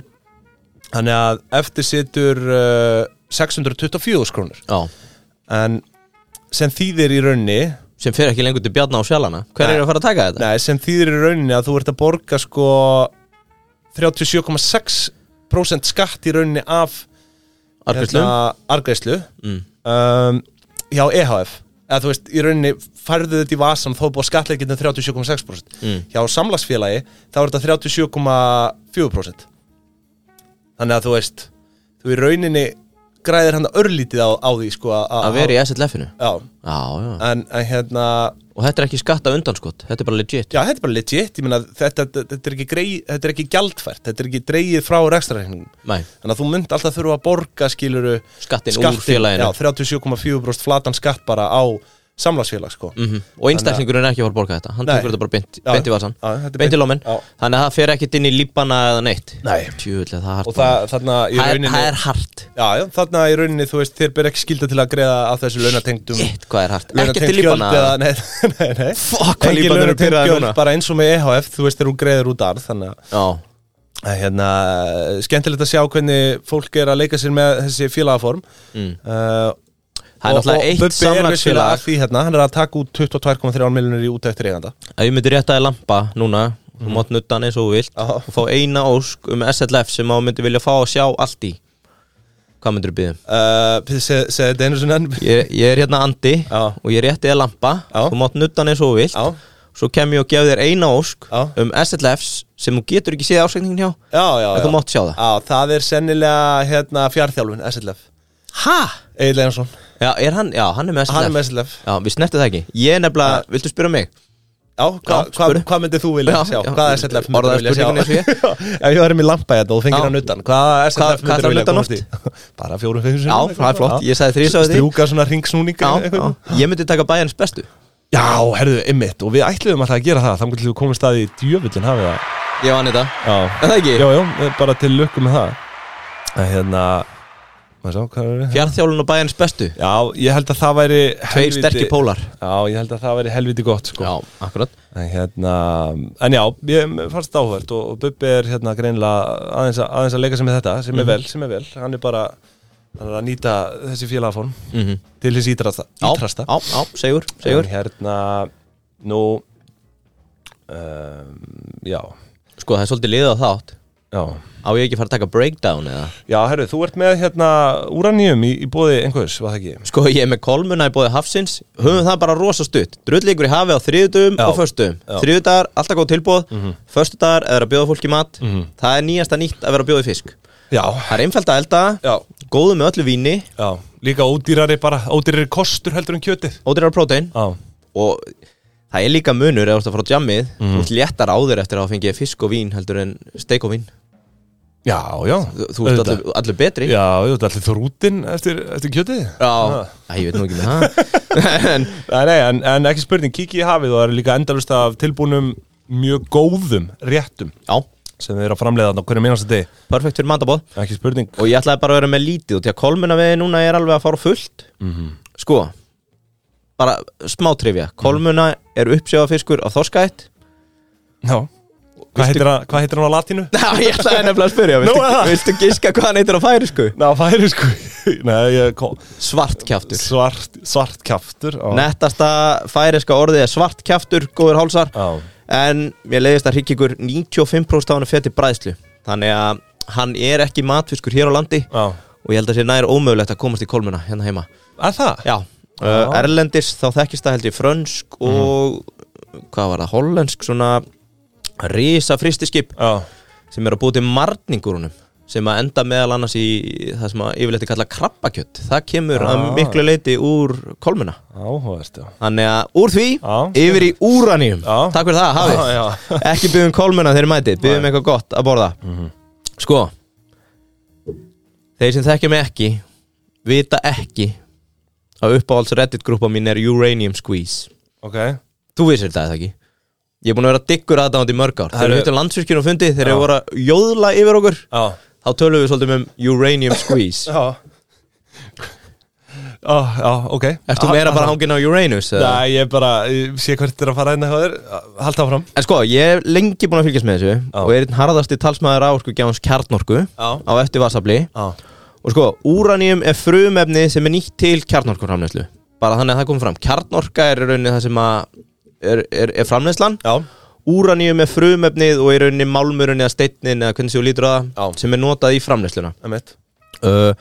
þannig að eftir situr uh, 624 krónur Já, en sem þýðir í raunni sem fer ekki lengur til Bjarna og Sjalana Hver Nei. er að fara að taka þetta? Nei, sem þýðir í rauninni að þú ert að borga sko 37,6% skatt í rauninni af Arfislu? hérna- argreislu Mm. um, hjá EHF eða þú veist, í rauninni færðu þetta í vasan þó búið skattleikinu 37,6% Mm. hjá samlagsfélagi þá er þetta 37,4% þannig að þú veist þú í rauninni græðir hann örlítið á, á því sko að- Að vera í SLF-inu? já, Já, já en, en hérna Og þetta er ekki skatta undanskott, þetta er bara legit Já, þetta er bara legit, ég meina þetta, þetta, þetta, er ekki grei, þetta er ekki gjaldfært, þetta er ekki dreigið frá rekstrareikningum Nei, Þannig að þú mynd alltaf þurfa að borga skiluru skattin úr félaginu Já, 37,4% flatan skatt bara á samlagsfélag sko mm Og einstaklingurinn er ekki að fara að borga þetta Hann Nei. tekur þetta bara beint, Já. beint í vasan Já, þetta er Beint í lómin Já. Þannig að það fer ekkit inn í líbana eða neitt Nei. Tjúvilega, það er hart Og það, þarna það, í er, rauninni það er hart Já, já, þarna í rauninni, þú veist, þér ber ekki skilda til að greiða af þessu launatengdum Shit, hvað er hart Ekki launatengd til líbana gjöld eða, (laughs) nei, nei, nei Fuck, hvað Engin líbanar eru launatengd pirraðir gjöld, núna. Bara eins og með EHF, þú veist, þegar þú greiðir út arð, þannig að Já, að hérna, skemmtilegt að sjá hvernig fólk er að leika sér með þessi félagaform mm. uh, það er náttúrulega eitt samlagsfélag samlagsfélag að því hérna, hann er að taka út 22,3 miljonir í útættir eiganda Ef ég myndi rétta þér lampa núna Þú mátt nutta hann eins og þú vilt Mhm. Já. Og fá eina ósk um SLF sem þú myndi vilja fá að sjá allt í Hvað myndir þú byggja? uh, segði þetta einu sinni enn Ég, ég er hérna Andi Já. Og ég rétti þér lampa Já. Þú mátt nutta hann eins og þú vilt Já. Svo kem ég og gef þér eina ósk Já. Um SLFs sem þú getur ekki séð ásækningin hjá já, já, En já. þú mátt sjá það já, það er sennilega hérna, fjárþjálfun, SLF Hæ? Egil Einarsson, Já, er hann, já, hann er með SLF hann er með SLF Já, við snertum það ekki Ég er nefnilega, viltu spyrja mig? Já, hva, Já, hva, spurðu. hvað myndið þú vilja Já, sjá? já. Hvað SLF myndir Orðaðu vilja sjá? spurninguna eins og (laughs) ég. Ef ég væri með lampa hérna og þú fengir Já. hann utan Hvað Hvað- SLF hvað myndir ætlar vilja hann komast í? (laughs) Bara fjórum, fjórum Já, það er flott. Ég sagði þrisvar við þig. Strjúka svona ringsnúning Já, já. Ég myndi taka bæjarins bestu já, herðu, ymmit Og við ætluðum alltaf að gera það Þannig til við komum staði í djöfullin hafið það Ég vann þetta Já, Er það ekki? já, já, eh, bara til lukku með það En hérna maður sá, hvað er það? Fjarnþjálun og bæjarins bestu Já, ég held að það væri Tveir helviti- sterkir pólar Já, ég held að það væri helviti gott sko. Já, akkurat En hérna, en já, ég mér fannst þetta áhvert og, og Bubbi er hérna greinlega aðeins, að- aðeins að leika sig með þetta, sem er vel, sem er vel, hann er bara hann er að nýta þessi félagafón Mhm. til hins ítrasta, Já, ítrasta. Já, já, segur, segur En hérna, nú, um, já, Sko, það er svolítið liðið á þátt já, Á ég ekki að fara að taka breakdown eða? já, herru, þú ert með hérna úranjum í, í bóði einhvers, var það ekki? Sko, ég er með kolmuna í bóði Hafsins Höfum það bara rosa stutt Drullíkur í hafi á þriðutum Já. og föstum Já. Mhm. Þriðudagar, alltaf góð tilbóð mm -hmm. Föstudagar, eða að bjóða fólki mat Það er nýjasta nýtt að vera að bjóða í fisk Já, Það er einfalt að elda já, Góðu með öllu víni já, líka ódýrari bara, ódýrari kostur heldur en kjötið. Ódýrar prótein Já, Og það er líka munur Ef þú ert að fara á jammið Mhm. Þú ert léttar á þér eftir að hafa fengið fisk og vín Heldur en steik og vín já, já. Þú, þú ert Auðvitað. allur, allur betri Já, þú ert allir þrútin eftir, eftir kjötið Já. Æ, ég veit nú ekki með (laughs) það En Nei, nei, en, en ekki spurning, kikið í hafið og það eru líka endalust af tilbúnum mjög góðum réttum já, sem þau eru að framleiða þarna á hverju minnast þetta perfekt fyrir matabóð ekki spurning og ég ætlaði bara að vera með lítið og til að kolmuna við núna er alveg að fara á fullt sko bara smá trivja, kolmuna er uppsjáfiskur á (laughs) þorskætt Já Hvað heitir, hann, hvað heitir hann á latínu? Ná, ég ætlaði nefnilega að spyrja, Nú, er viltu, það? viltu giska hvað hann heitir á færi sko? Ná, færi sko (laughs) Nei, ég kom Svartkjaftur Svart, svart kjaftur á. Nettasta færiska orðið er svartkjaftur, góður hálsar Já, En mér leiðist að hryggingur 95% af hann er fett í bræðslu Þannig að hann er ekki matfiskur hér á landi já Og ég held að sé nær ómögulegt að komast í kolmuna hérna heima Er það? Já, uh, Erlendis þá þekkist það held ég frönsk og hvað var það, hollensk svona risa fristiskip Já, sem eru að búið til marningurunum sem að enda meðal annars í það sem að yfirleitt er kallað krabbakjött það kemur að Ah. miklu leiti úr kolmuna áhugast, já þannig að úr því Já. yfir í úranjum Já. takk fyrir það, hafið Já, Mhm. já. (laughs) ekki byggum kolmuna þegar mætið, byggum eitthvað gott að borða sko þeir sem þekkja mig ekki vita ekki að uppáhalds reddit grúpa mín er uranium squeeze Ok þú vissir þetta eða ekki ég er búin að vera dykkur aðdáðandi í mörg ár þegar eru- við hittum landsvirkjun og fundi þegar Já. við voru að jóðla yfir okkur Já þá tölum við svolítið um uranium (laughs) squeeze Já Já, já, ok ertu meira bara hangin á Uranus eða? Nei, ég bara, ég sé hvert þér að fara einna hjá þér Halda áfram En sko, ég hef lengi búin að fylgjast með þessu Já. og er einn harðasti talsmaður á sko gjáns kjarnorku Já. á eftir vasabli Já og sko, úranium er frumefni sem er nýtt til kjarnorkuframleyslu bara þannig að það kom fram, kjarnorka er í rauninni það sem að er, er, er framleyslan Já úranium er frumefnið og í rauninni málmurinn eða steitnin eða hvernig séu lítur á það Já. sem er notað í framleysluna Emitt uh,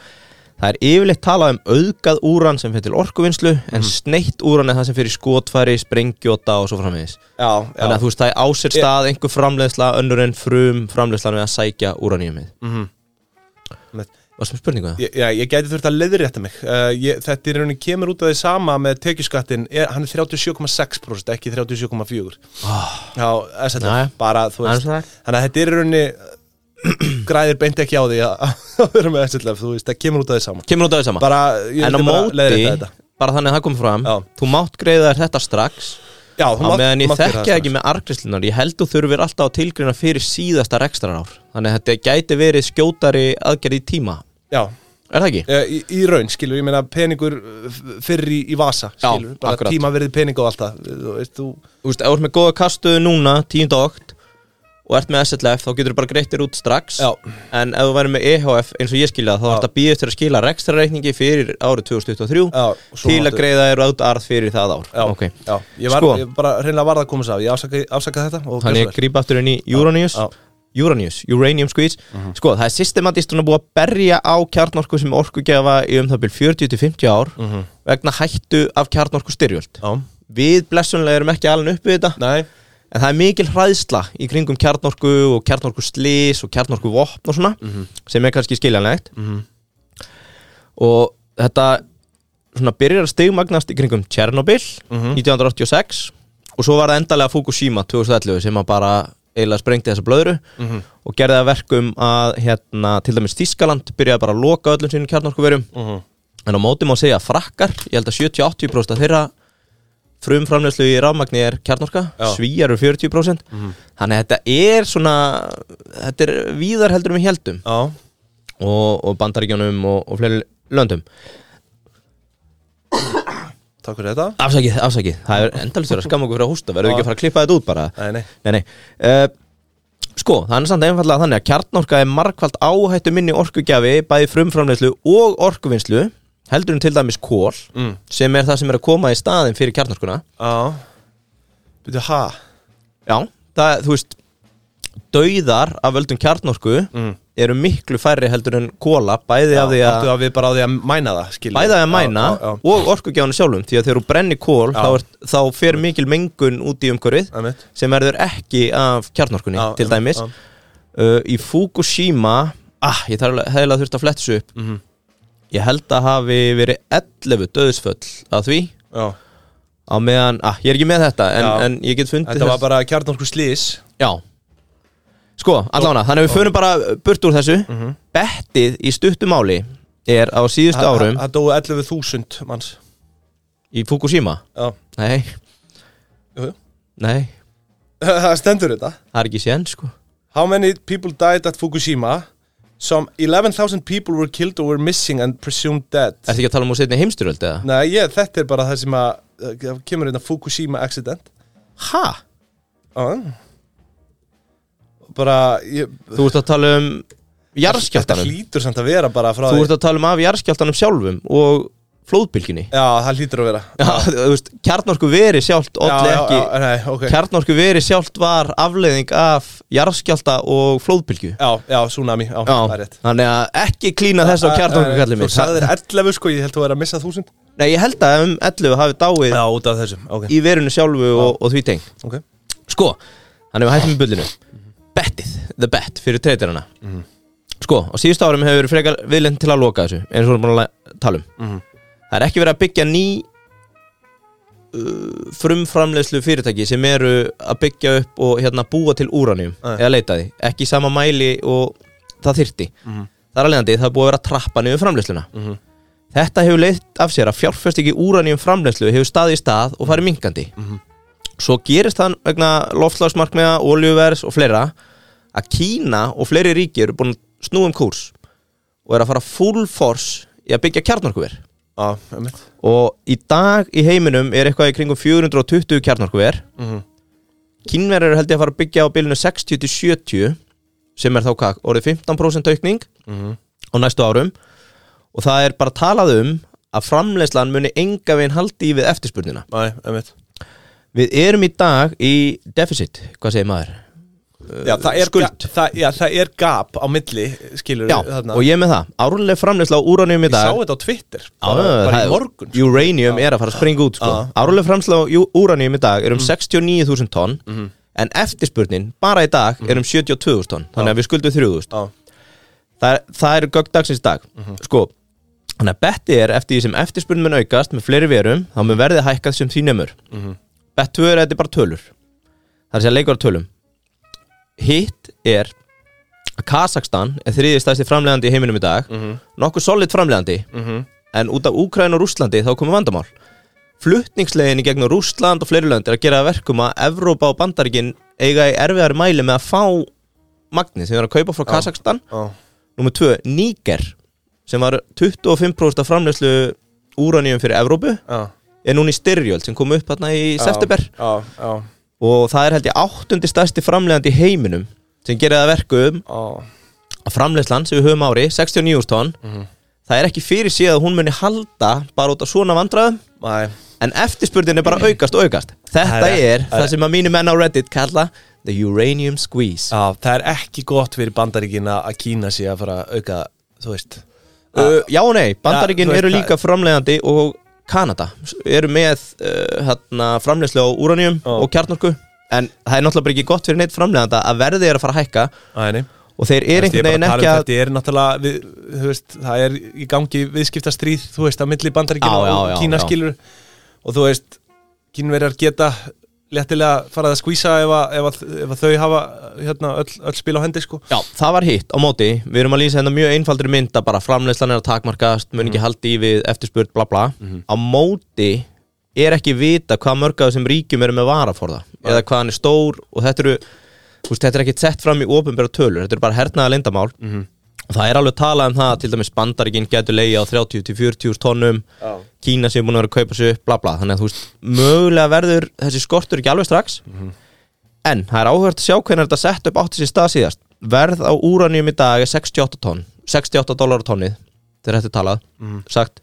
það er yfirleitt talað um auðgað úran sem fyrir til orkuvinnslu en Mhm. sneitt úran er það sem fyrir skotfæri, sprengjóta og svo framvegis Já, þannig að þú veist það er á sér stað einhver framleiðsla önnur en frum framleiðslan við að sækja úraniumið Einmitt. Var sem spurningu það? Mm. Ég, já, ég gæti þurft að leiðrétta mig uh, ég, Þetta í rauninni kemur út af því sama með tekjuskattin er, Hann er 37,6% ekki 37,4 Ah. Já, þess að Jæja. bara þú veist Aðeins það? Þannig að þetta er í rauninni (clears throat) græðir beint ekki á því að að vera með SLF, þú veist, það kemur út af því sama Kemur út af því sama? Bara, ég en á vildi bara móti, leiðrétta þetta bara þannig að það kom fram Já. þú mátt greiða þér þetta strax Já, á þú mátt- meðan ég mátt gera þekkja það ekki með argrislunar ég held þú þurfir alltaf að tilgrina fyrir síðasta rekstrarár þannig að þetta gæti verið skjótari aðgerð í tíma strax. Já, er það ekki? Eh, í, í raun, skilur, ég meina peningur eh, f- fyrir í, í vasa, Já, skilur bara akkurat. tíma verið pening og allt það eh, þú veist, þú, Þú veist, ef þú ert með góða kastuðu núna 10. okt og ert með SLF þá getur þú bara greitt þér út strax Já. en ef þú væri með EHF eins og ég skilja það þá ert að býðast þér að skila rekstrarreikningi fyrir árið 2023 Já, og svo til að máttu- greiða þér út arð fyrir það ár já, Ok. já, ég var, Sko. ég bara reynilega varð að koma sá ég afsaka, afsaka þetta Þannig ég og gjörðu svo vel. grípa aftur inn í Uranius Já. Mhm. Uranius, Uranium Squeeze Sko, það er systematist hún að búa að berja á kjarnorku sem orkugjafa í um það byrjum 40-50 ár Mhm. vegna hættu af kjarnorku styrjöld já, Við blessunlega erum ekki alveg upp við þetta nei, en það er mikil hræðsla í kringum kjarnorku og kjarnorku slis og kjarnorku vopn og svona sem er kannski skiljanlegt og þetta svona byrjar að stigmagnast í kringum Tjernobyl 1986 og svo var það endalega Fukushima 2011 sem að bara eiginlega sprengti þessa blöðru og gerði það verkum að hérna, til dæmis Þískaland byrjaði bara að loka öllum sínum kjarnorkuverjum mhm, en á móti má segja að frakkar ég held að 70-80% af þeirra frumframlegslu í rafmagni er kjarnorka Já. svíjar eru 40% þannig að þetta er svona þetta er víðar heldur um í heldum Já, og, og bandaríkjónum og, og fleiri löndum takk fyrir þetta Afsakið, afsakið, það er endalist verið að skamma okkur fyrir að hósta Verðum við ekki að fara að klippa þetta út bara Nei, nei Nei, nei uh, Sko, það er samt einfallega þannig að kjarnorka er margfald áhættu minni orkugjafi Bæði frumframleyslu og orkuvinnslu Heldur um til dæmis kól mm. Sem er það sem er að koma í staðin fyrir kjarnorkuna Já Býtu, ha? Já, það, þú veist Dauðar af völdum kjarnorku Mm. Eru miklu færri heldur en kóla Bæði af því að Áttu að við bara á því að mæna það, skilja bæða að mæna Já, já, og orkugjáðan sjálfum því að þegar þú brennir kól Já. þá, er, þá fer mikil mengun út í umhverfið já einmitt. sem verður ekki af kjarnorkunni Já, til dæmis einmitt, já. uh, í Fukushima ah, ég þarf að- hefði að þurft að fletsu upp Mhm. ég held að hafi verið 11 döðsföll að því Já. á meðan, ah, ég er ekki með þetta en, Já. en ég get fundið Þetta var bara kjarnorku slís já sko, allavega, þannig að við förum bara eh, burt úr þessu Mhm. bettið í stuttumáli er á síðustu árum Það dói 11.000 manns í Fukushima Já nei, Jú, jú. nei Það (laughs) stendur þetta Það er ekki sén sko How many people died at Fukushima? Some 11,000 people were killed or were missing and presumed dead. Ertu ekki að tala um úr setni heimsturöld eða? Nei, ég, þetta er bara það sem að, uh, kemur inn að Fukushima accident. Ha? Uh. Bara, ég, Þú ert að tala um þetta jarðskjáltanum hlýtur samt að vera bara frá Þú ert að tala um af jarðskjáltanum sjálfum og flóðbylginni Já, það hlýtur að vera. Já, þú veist, kjarnorku veri sjálft olli ekki já, nei, ok. Kjarnorku veri sjálft var afleiðing af jarðskjálta og flóðbylgu Já, já, tsunami, já, það er Já, rétt. Eh, þannig að ekki klína þess á kjarnorku kallið Þú sagðir minn 11 sko, ég held þú er að missa 1000 Nei, ég held að um 11 hafi dáið Já, út af þessum, ok, í verinu sjálfu og, og því teng ok Sko, hann hefur hægt með bullinu Bettið, the bet, fyrir treytirana Mhm. Sko, á síðustu árum hefur verið frekar viðlind til að loka þessu eins og við erum búin að la- tala um Mhm. Það er ekki verið að byggja ný uh, frumframleiðslu fyrirtæki sem eru að byggja upp og hérna búa til úranium Nei. eða leita því, ekki í sama mæli og það þyrti Mhm. Það er alveg andi, það er búið að vera að trappa niður framleiðsluna Mhm. Þetta hefur leitt af sér að fjárfest ekki úranium framleiðslu hefur staði í stað og farið minkandi Mhm. Svo gerist það vegna loftlagsmarkmiða, oljuvers og fleira að Kína og fleiri ríki eru búin að snúa um kúrs og eru að fara full force í að byggja kjarnorkuver Já, einmitt og í dag í heiminum er eitthvað í kringum 420 kjarnorkuver Mhm. Kínverjar eru held ég að fara að byggja á bilinu 60 til 70 sem er þá hvað, orðið 15% aukning Mhm. á næstu árum og það er bara talað um að framleiðslan muni enga veginn haldi í við eftirspurnina Nei, einmitt Við erum í dag í deficit, hvað segir maður? já, það er, skuld. ga- það, já, það er gap á milli skilur Já, þarna. og ég er með það, árlega framleiðsla á úranium í ég dag sá þetta á Twitter Já, bara, bara það er- í morgun sko. Uranium er að fara að springa út sko. Já. Mhm. Árlega framleiðsla á jú- úranium í dag er um 69.000 tonn En eftirspurnin bara í dag Mhm. er um 72.000 tonn Þannig að við skuldum 3.000 Já, Það, það eru gögn dagsins í dag Mhm. Sko, þannig að betti er eftir því sem eftirspurnin mun aukast með fleiri verum þá mun verðið hækkað sem því nemur Mhm, Bett 2 er að þetta er bara tölur Það er að segja leikur á tölum Hitt er að Kazakstan er þriðið stæðsti framlegandi í heiminum í dag Nokkuð solid framlegandi mhm. En út af Úkræn og Rússlandi þá komum vandamál Flutningslegin í gegnum Rússland og fleiri lönd er að gera að verkum að Evrópa og Bandaríkin eiga í erfiðari mæli með að fá magni sem er að kaupa frá Kazakstan Já, Númer 2, Níger sem var 25% af framleyslu úraníum fyrir Evrópu já, er núna í styrjöld sem kom upp hérna í já, september Já, já, og það er held ég áttundi stærsti framlegandi í heiminum sem gerir það að verkum já að framleyslan sem við höfum á ári 69 tonn Mhm. það er ekki fyrir síðan að hún muni halda bara út af svona vandræðum Nei, en eftirspurnin er bara að aukast og aukast Það þetta er er- það er- það sem að mínu menn á Reddit kalla the uranium squeeze já, það er ekki gott fyrir bandaríkina að kína sig að fara að auka þú veist uh, já og nei, bandaríkin ah. þú veist eru það- líka framleiðandi og Kanada s- eru með uh, hérna, framleiðslu á uranium Já. og kjarnorku en það er náttúrulega bara ekki gott fyrir neitt framleiðanda að verðið er að fara að hækka Æ, og þeir eru einhvern veginn ekki að um Þetta er náttúrulega, við, þú veist, það er í gangi viðskiptastríð, þú veist, á milli bandaríkina Já, já, og já, kína já. skilur og þú veist, kínverjar geta léttilega farað að skvísa ef, að- ef, að- ef að þau hafa hérna, öll, öll spil á hendi sko. Já, það var hitt á móti Við erum að lýsa hérna mjög einfaldri mynd að bara framleyslan er að takmarkast mun ekki haldi í við eftirspurt bla bla Á móti er ekki vita hvað mörg af þessum ríkjum eru með vara for það eða hvað hann er stór og þetta eru þú veist, þetta er ekki sett fram í ofinbæra tölur þetta eru bara hernaða lindamál og það er alveg talað um það til dæmis bandaríkinn getur leiði á 30-40 tonnum Já. Kína sem er búin að vera að kaupa sig upp bla bla þannig að þú veist, mögulega verður þessi skortur ekki alveg strax En það er áhugert að sjá hvernig þetta sett upp átti sér stað síðast Verð á úranium í dag er 68 tonn 68 dólar á tonnið Þegar þetta er talað Sagt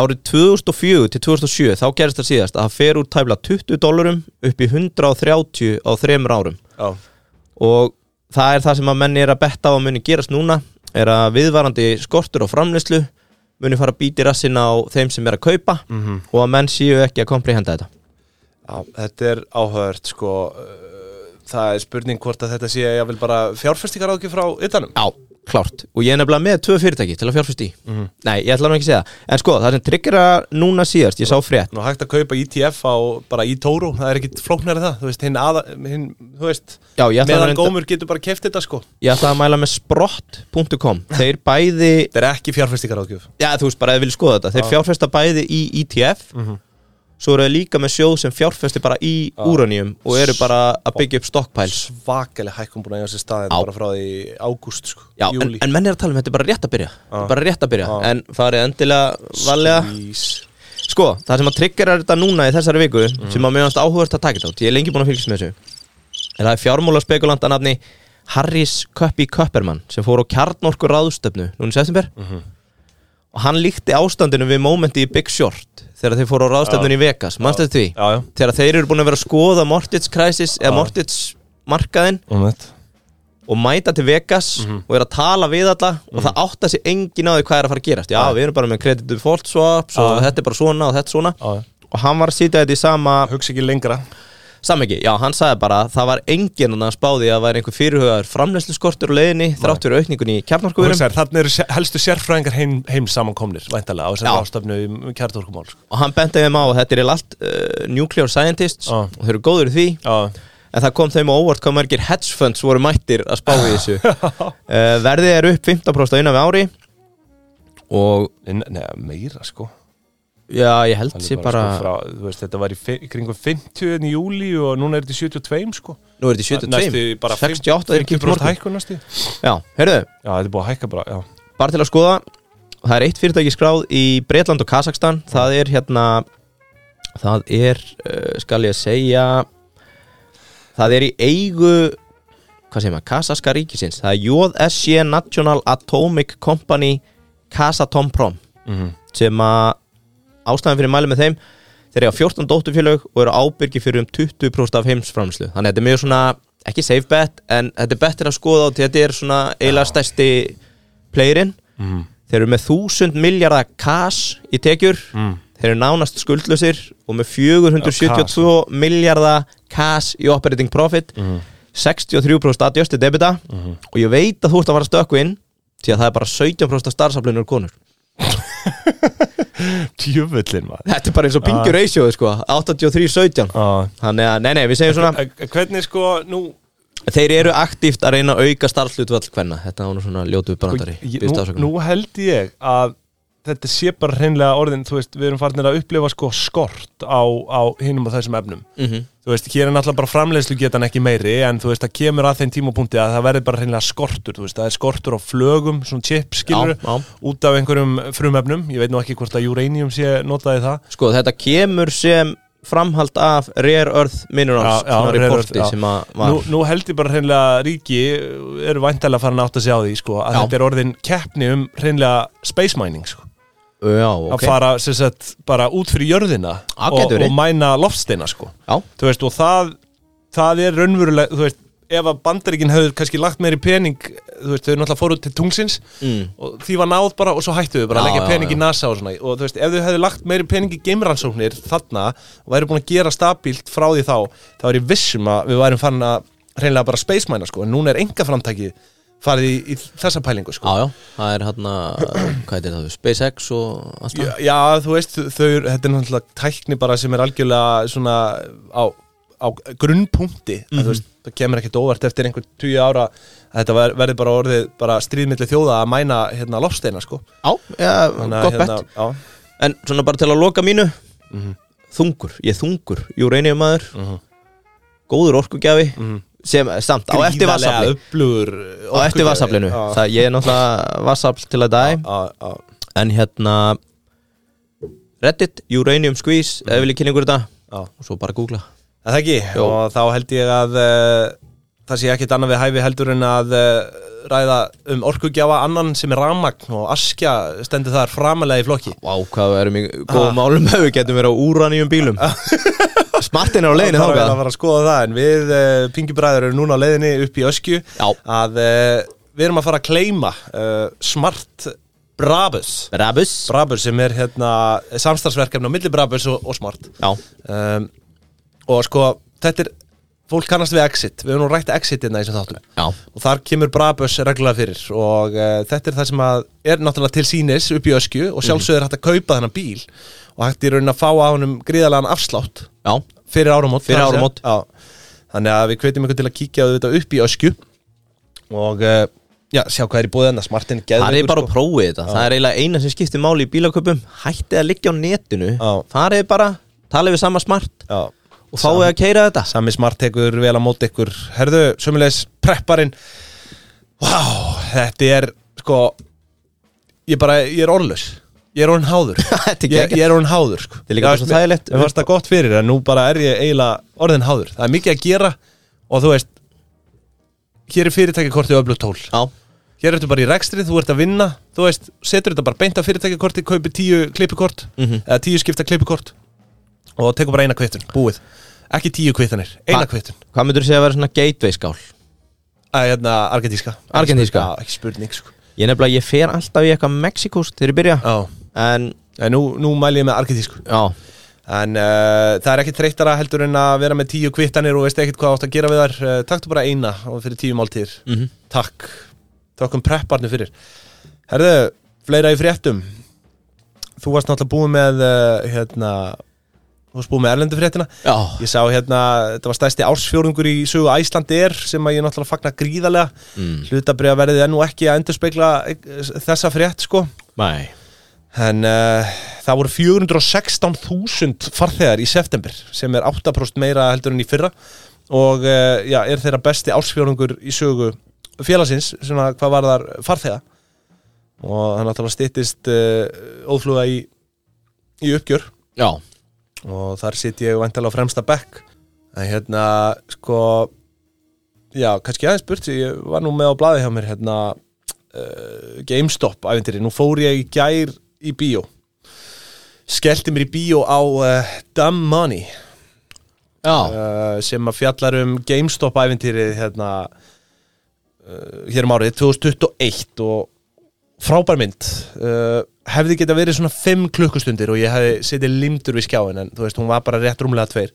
Árið 2004 til 2007 þá gerist það síðast að það fer úr tæfla 20 dólarum upp í 130 á þremur árum Já. og það er það sem að menni er að betta á að muni gerast núna er að viðvarandi skortur og framleyslu muni fara að býti rassin á þeim sem er að kaupa og að menn séu ekki að komprehenda þetta Já, þetta er áhört sko. uh, Það er spurning hvort að þetta sé ég vil bara fjárfestingar ákjöf frá ytanum Já, klárt Og ég er nefnilega með tvö fyrirtæki til að fjárfæst í Mhm. Nei, ég ætla nú ekki að segja það En sko, það sem tryggir að núna síðast, ég sá frétt Nú er hægt að kaupa ETF á bara í Tóru Það er ekki flóknar en það Þú veist, hinn aða, hinn, þú veist Já, ég ætla, Meðan reynda, gómur getur bara keft þetta sko ég ætla að mæla með sprott.com Þeir bæði, Þetta er ekki fjárfestingar ákjöf já þú veist bara að þið vilja skoða þetta Þeir fjárfesta bæði í ETF Mhm. Svo eru þeir líka með sjóð sem fjárfesti bara í ah. Og eru bara að byggja upp stockpiles Svakaleg hækkum búin að eiga sér Já. stað Þetta bara frá því ágúst sko Já, en, Júlí en menn er að tala um þetta er bara rétt að byrja Þetta er Já. Bara rétt að byrja, Já. en farið endilega valega Squeeze. Sko, það sem að tryggjara þetta núna í þessari viku sem að mjögast áhugast að taka þetta út ég er lengi búin að fylgjast með þessu en það er fjármóla spekulant að nafni Harris Köppi Köppermann sem fór á kjarnorku ráðstöfnu núna í september Mhm. og hann líkti ástandinu við mómenti í Big Short þegar þeir fóru á ráðstöfnun í Vegas mannstu þetta því? Já, já Þegar þeir eru búin að vera að skoða mortgage crisis eða mortgage markaðinn Um þetta og mæta til Vegas og er að tala við alla og það átta sig engin á því hvað er að fara að gerast já, við erum bara með credit default swaps og Já. þetta er bara svona og þetta er svona Já, já og hann var að sitja þetta í sama Ah, Hugsa ekki lengra samhengi, já hann sagði bara að það var enginn hann að spáði að það væri einhver fyrirhugaður framleysluskortur og leiðinni þrátt fyrir aukningun í kjarnorkuverum Hugsaðir, Þannig eru se- helstu sérfræðingar heim, heim samankomnir Væntalega á þessari Já. ástafnu um kjartorkumál sko. og hann benti þeim á að þetta er eiginlega allt uh, nuclear scientists Já. og þau eru góður í því Já en það kom þeim á óvart hvað margir hedge funds voru mættir að spá í þessu (laughs) uh, verðið er upp 15% á innan við ári og Nei, nei, meira sko já, ég held Alveg sé bara sko, frá, þú veist, Þetta var í fi- kringum 50 í júli og núna er þetta í 72 sko nú er þetta í Næstu 72, bara 68 er ekki í 50% morgun hækkun næstu Já, já, heyrðu, þetta er búið að hækka bara já. bara til að skoða það er eitt fyrirtæki skráð í Breitland og Kazakstan það er hérna það er, uh, skal ég segja það er í eigu hvað segir maður, Kazaska ríkisins það er JSC National Atomic Company Kazatomprom Mhm. sem að ástæðan fyrir mæli með þeim þeir eru á 14 dótturfélög og eru ábyrgi fyrir um 20% af heimsframslu þannig að þetta er mjög svona, ekki safe bet en þetta er betur að skoða á því að þetta er svona eiginlega stærsti playerinn þeir eru með 1000 miljardar cash í tekjur Mhm. Mm. þeir eru nánast skuldlausir og með 472 miljardar cash í operating profit 63% adjösti debita og ég veit að þú ert að fara að stökku inn því að það er bara 17% af starfsaflunur konur Mm. Djöfullin maður Þetta er bara eins og Ah. pingjur ratio sko 83-17 Já. Þannig að, nei nei, við segjum svona En- en Hvernig sko, nú Þeir eru aktíft að reyna að auka starfslutvall hvenna Þetta var nú svona ljótu uppbrandari Sko, Ég- Býðst nú, ásökunum nú held ég að þetta sé bara hreinlega orðin þú veist, við erum farinir að upplifa sko skort á, á hinum og þessum efnum Mhm. þú veist, hér er náttúrulega bara framleiðslu getan ekki meiri en þú veist, það kemur að þeim tímapunkti að það verður bara hreinlega skortur, þú veist, það er skortur á flögum, svona chip skilur Já, já. út af einhverjum frumefnum, ég veit nú ekki hvort að uranium sé notaði það Sko þetta kemur sem framhald af Rare Earth Minerals Já, já, Svona Rare reporti Earth, já. sem að var nú, nú held ég bara hreinlega ríki eru væntalega farin að átta sig á því sko, að Já. þetta er orðin keppni um hreinlega space mining sko. Já, að ok fara sem sagt, bara út fyrir jörðina Já, og, getur verið. og mæna loftsteina sko. Já, Þú veist, og það, það er raunverulega þú veist, ef að bandaríkin höfðu kannski lagt meiri pening þú veist, þau náttúrulega fóru til tungsins mm. og því var náð bara og svo hættu þau bara að Já, leggja já, pening já. í NASA og svona og þú veist, ef þau hefðu lagt meiri pening í geimrannsóknir þarna og væri búin að gera stabílt frá því um þá, þá er ég vissum að við værum farin að reynilega bara space mæna sko, en núna er enga framtækið farið í, í þessa pælingu sko. Já, já, það er hérna, hvað heitir það, SpaceX og allt já, það já, þú veist, þau, eru- þetta er náttúrulega tækni bara sem er algjörlega svona á, á grunnpunkti mm Mhm. þú veist, það kemur ekkert óvart eftir einhver tíu ára að þetta ver, verði bara orðið bara stríðmilli þjóða að mæna hérna lofsteina sko hérna, Já, já, gott bett já, En svona bara til að loka mínu Mhm, Þungur, ég er þungur Júreinið maður Góður orkugjafi Mhm. Sem samt á eftir vassafli upplugur Á eftir vassaflinu Það ég er náttúrulega vassafl til að dæ Já, En hérna Reddit, Uranium Squeeze Ef við líka kynningur þetta Og svo bara googla það ekki Jó. og þá held ég að uh, það sé ekkert annað við hæfi heldur en að uh, ræða um orkugjafa annan sem er ramagn og askja stendur þar framalega í flokki Vá, hvað við erum í góðum málum Ef við getum verið á úraníum bílum Smartin er á leiðinu Það þarf að þákað fara að skoða það en við uh, pingjubræður erum núna á leiðinni upp í öskju Já. að uh, við erum að fara að kleima uh, smart Brabus Rabus Brabus sem er hérna samstagsverkefni á milli Brabus og, og smart Já, um, og sko þetta er, fólk kannast við exit við höfum nú rætt exit hérna í þessum þáttum já, og þar kemur Brabus reglulega fyrir og uh, þetta er það sem að er náttúrulega til sínis upp í öskju og sjálfsögður er hægt að kaupa þennan bíl og hægt í raunin að fá á honum gríðalegan afslátt já fyrir áramót Fyrir það er að áramót. segja. já. þannig að við hvetjum ykkur til að kíkja auðvitað upp í öskju og uh, já, sjá hvað er í búið hennar smartin Það er bara að prófið þetta Það er eiginlega eina sem skiptir máli í bílaköpum Hættið að liggja á netinu Já. Það er bara, talið við sama smart já. Og fáið að keira þetta sami smart tekur vel að móti ykkur herðu, sömulegis prepparinn vá, þetta er sko ég bara, ég er orðlaus ég er orðin háður (laughs) Þetta er ég, ég geggjað. er orðin háður sko. er líka bara svo þægilegt. Mér fannst það gott fyrir en nú bara er ég eiginlega orðin háður það er mikið að gera og þú veist hér er fyrirtækjakortið öflut tól Já, hér ertu bara í rekstrið, þú ert að vinna þú veist, setur þetta bara beint af fyrirtækjakorti kaupir tíu klippikort, eða tíu skipta klippikort og tekur bara eina kvittun búið, ekki tíu kvittanir eina Hva- kvittun, Hvað myndur þú segja að vera svona gateway skál? að hérna argentíska Argentíska? Já, ekki spurning sko Ég nefnilega, ég fer alltaf í eitthvað Mexikos þegar ég byrja Já. En, en nú, nú mæli ég með argentísku já, en uh, það er ekki þreytara heldur en að vera með tíu kvittanir og veist ekkert hvað átt að gera við þar uh, taktu bara eina og fyrir tíu máltíðir Mhm. -hmm. takk, takkum prepparnu fyrir herðu, fleira í fréttum þú varst náttúrulega búin með uh, hérna þú varst búin með erlendu fréttina já ég sá hérna, þetta var stæsti ársfjórðungur í sögu Æslandir sem að ég náttúrulega fagna gríðarlega mm. hlutabriða verðið ennú ekki að endurspegla eh, þessa frétt sko Mæ En uh, það voru 416.000 farþegar í september sem er 8% meira heldur en í fyrra og uh, já, er þeirra besti ársfjörungur í sögu félagsins svona hvað var þar farþega og það náttúrulega styttist uh, ófluga í, í uppgjör Já, og þar sitt ég vantala á fremsta bekk en hérna sko já, kannski aðeins burt ég var nú með á blaði hjá mér hérna uh, GameStop æfintýri, nú fór ég í gær í bíó skellti mér í bíó á uh, Dumb Money já, uh, sem að fjallar um GameStop æfintýrið hérna uh, hér um árið 2021 og frábær mynd uh, hefði geta verið svona 5 klukkustundir og ég hefði setið limdur við skjáin en þú veist, hún var bara rétt rúmlega tveir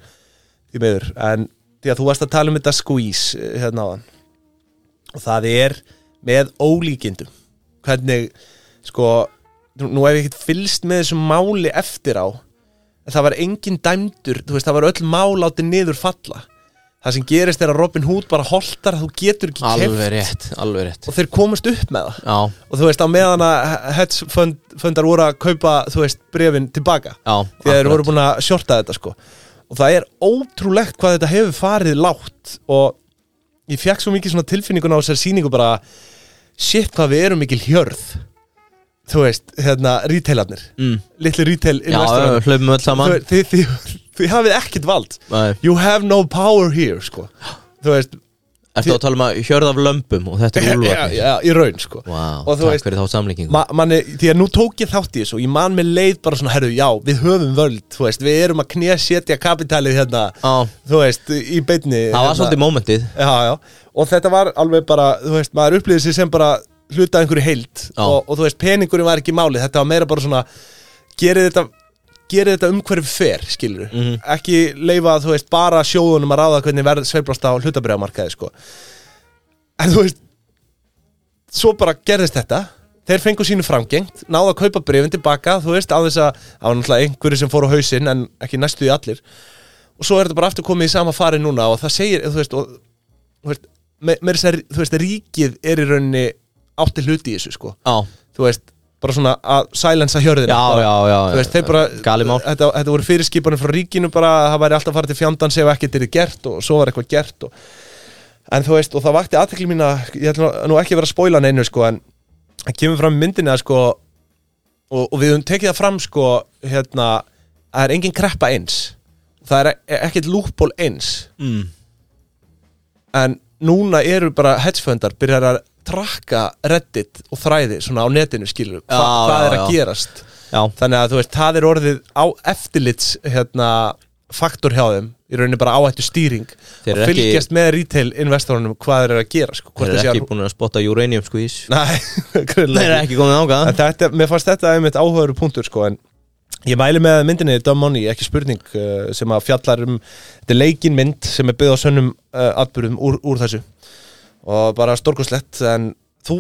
í meður, en því að þú varst að tala um þetta squeeze eh, hérna áðan og það er með ólíkindum hvernig, sko nú nú hef ég ekkert fylst með þessu máli eftir á en það var engin dæmdur, þú veist, það var öll mál átti niður falla það sem gerist er að Robin Hood bara holtar þú getur ekki alveg keft rétt, alveg rétt og þeir komast upp með það Já, og þú veist á meðan að hedge fund, fundar voru að kaupa þú veist brefin tilbaka já því að þeir akkurat. voru búin að shorta þetta sko og það er ótrúlegt hvað þetta hefur farið lágt og ég fekk svo mikið svona tilfinninguna á þessari sýningu bara shit hvað við erum mikil hjörð þú veist hérna retailarnir mm. litlu retail Já, já, investorarnir. hlaupum öll saman Þú- þið, þið, þið, þið hafið ekkert vald Nei. you have no power here sko þú veist (gasps) Ertu að tala um að hjörða af lömbum og þetta er (laughs) já, úlfarnir já, í raun sko Vá, Og þú takk veist- fyrir þá samlíkingu Ma, manni, því að nú tók ég þátt í þessu og ég man með leið bara svona, herru, já, við höfum völd þú veist, við erum að knésetja kapitalið hérna, Já, þú veist, í beinni það var hérna. svolítið mómentið já, já, og þetta var alveg bara, þú veist, maður upplýði sig sem bara hluta af einhverju heild Já. og, og þú veist, peningurinn var ekki málið, þetta var meira bara svona gerið þetta gerið þetta umhverfi fer, skilur Mhm. ekki leifa, þú veist, bara sjóðunum að ráða hvernig verð sveiflast á hlutabriðamarkaði, sko en þú veist svo bara gerðist þetta þeir fengu sínu framgengt, náðu að kaupa brefin tilbaka, þú veist, á þess að það var náttúrulega einhverju sem fór á hausinn en ekki næstu í allir og svo er þetta bara aftur komið í sama fari núna og það segir, þú veist og, þú veist, me, með þess að þú veist, ríkið er í rauninni átti hluti í þessu, sko Já, þú veist, bara svona að silensa já, hjörðina bara, já, já þú veist, þeir bara, Gali mál þetta, þetta voru fyrirskipanir frá ríkinu bara, að það væri alltaf að fara til fjandans ef ekkert er gert og svo var eitthvað gert og, en þú veist, og það vakti aðtekli mín að, ég ætla nú- nú ekki að vera að spóila neinu sko, en það kemur fram í myndinni að sko og, og við höfum tekið það fram sko hérna, að það er engin kreppa eins það er e- ekkert lúkból eins mm. en núna eru bara hedgefundar byrjar að trakka reddit og þræði svona á netinu skilur hva, Já, hvað já, er að já. gerast Já, þannig að þú veist, það er orðið á eftirlits hérna, faktor hjá þeim í rauninni bara áhættu stýring Þeir að eru ekki- fylgjast með retail investorunum hvað þeir eru að gera sko, þeir hvort eru þessi ekki búin að spotta uranium squeeze Nei, (laughs) Þeir eru greinlega ekki ekki komið ágað En þetta, mér fannst þetta einmitt áhugaður punktur sko, en ég mæli með myndinni Dumb Money, ekki spurning uh, sem að fjallar um, þetta er leikin mynd sem er byggð á sönnum uh, atbyrðum úr, úr þessu og bara stórkoslegt en þú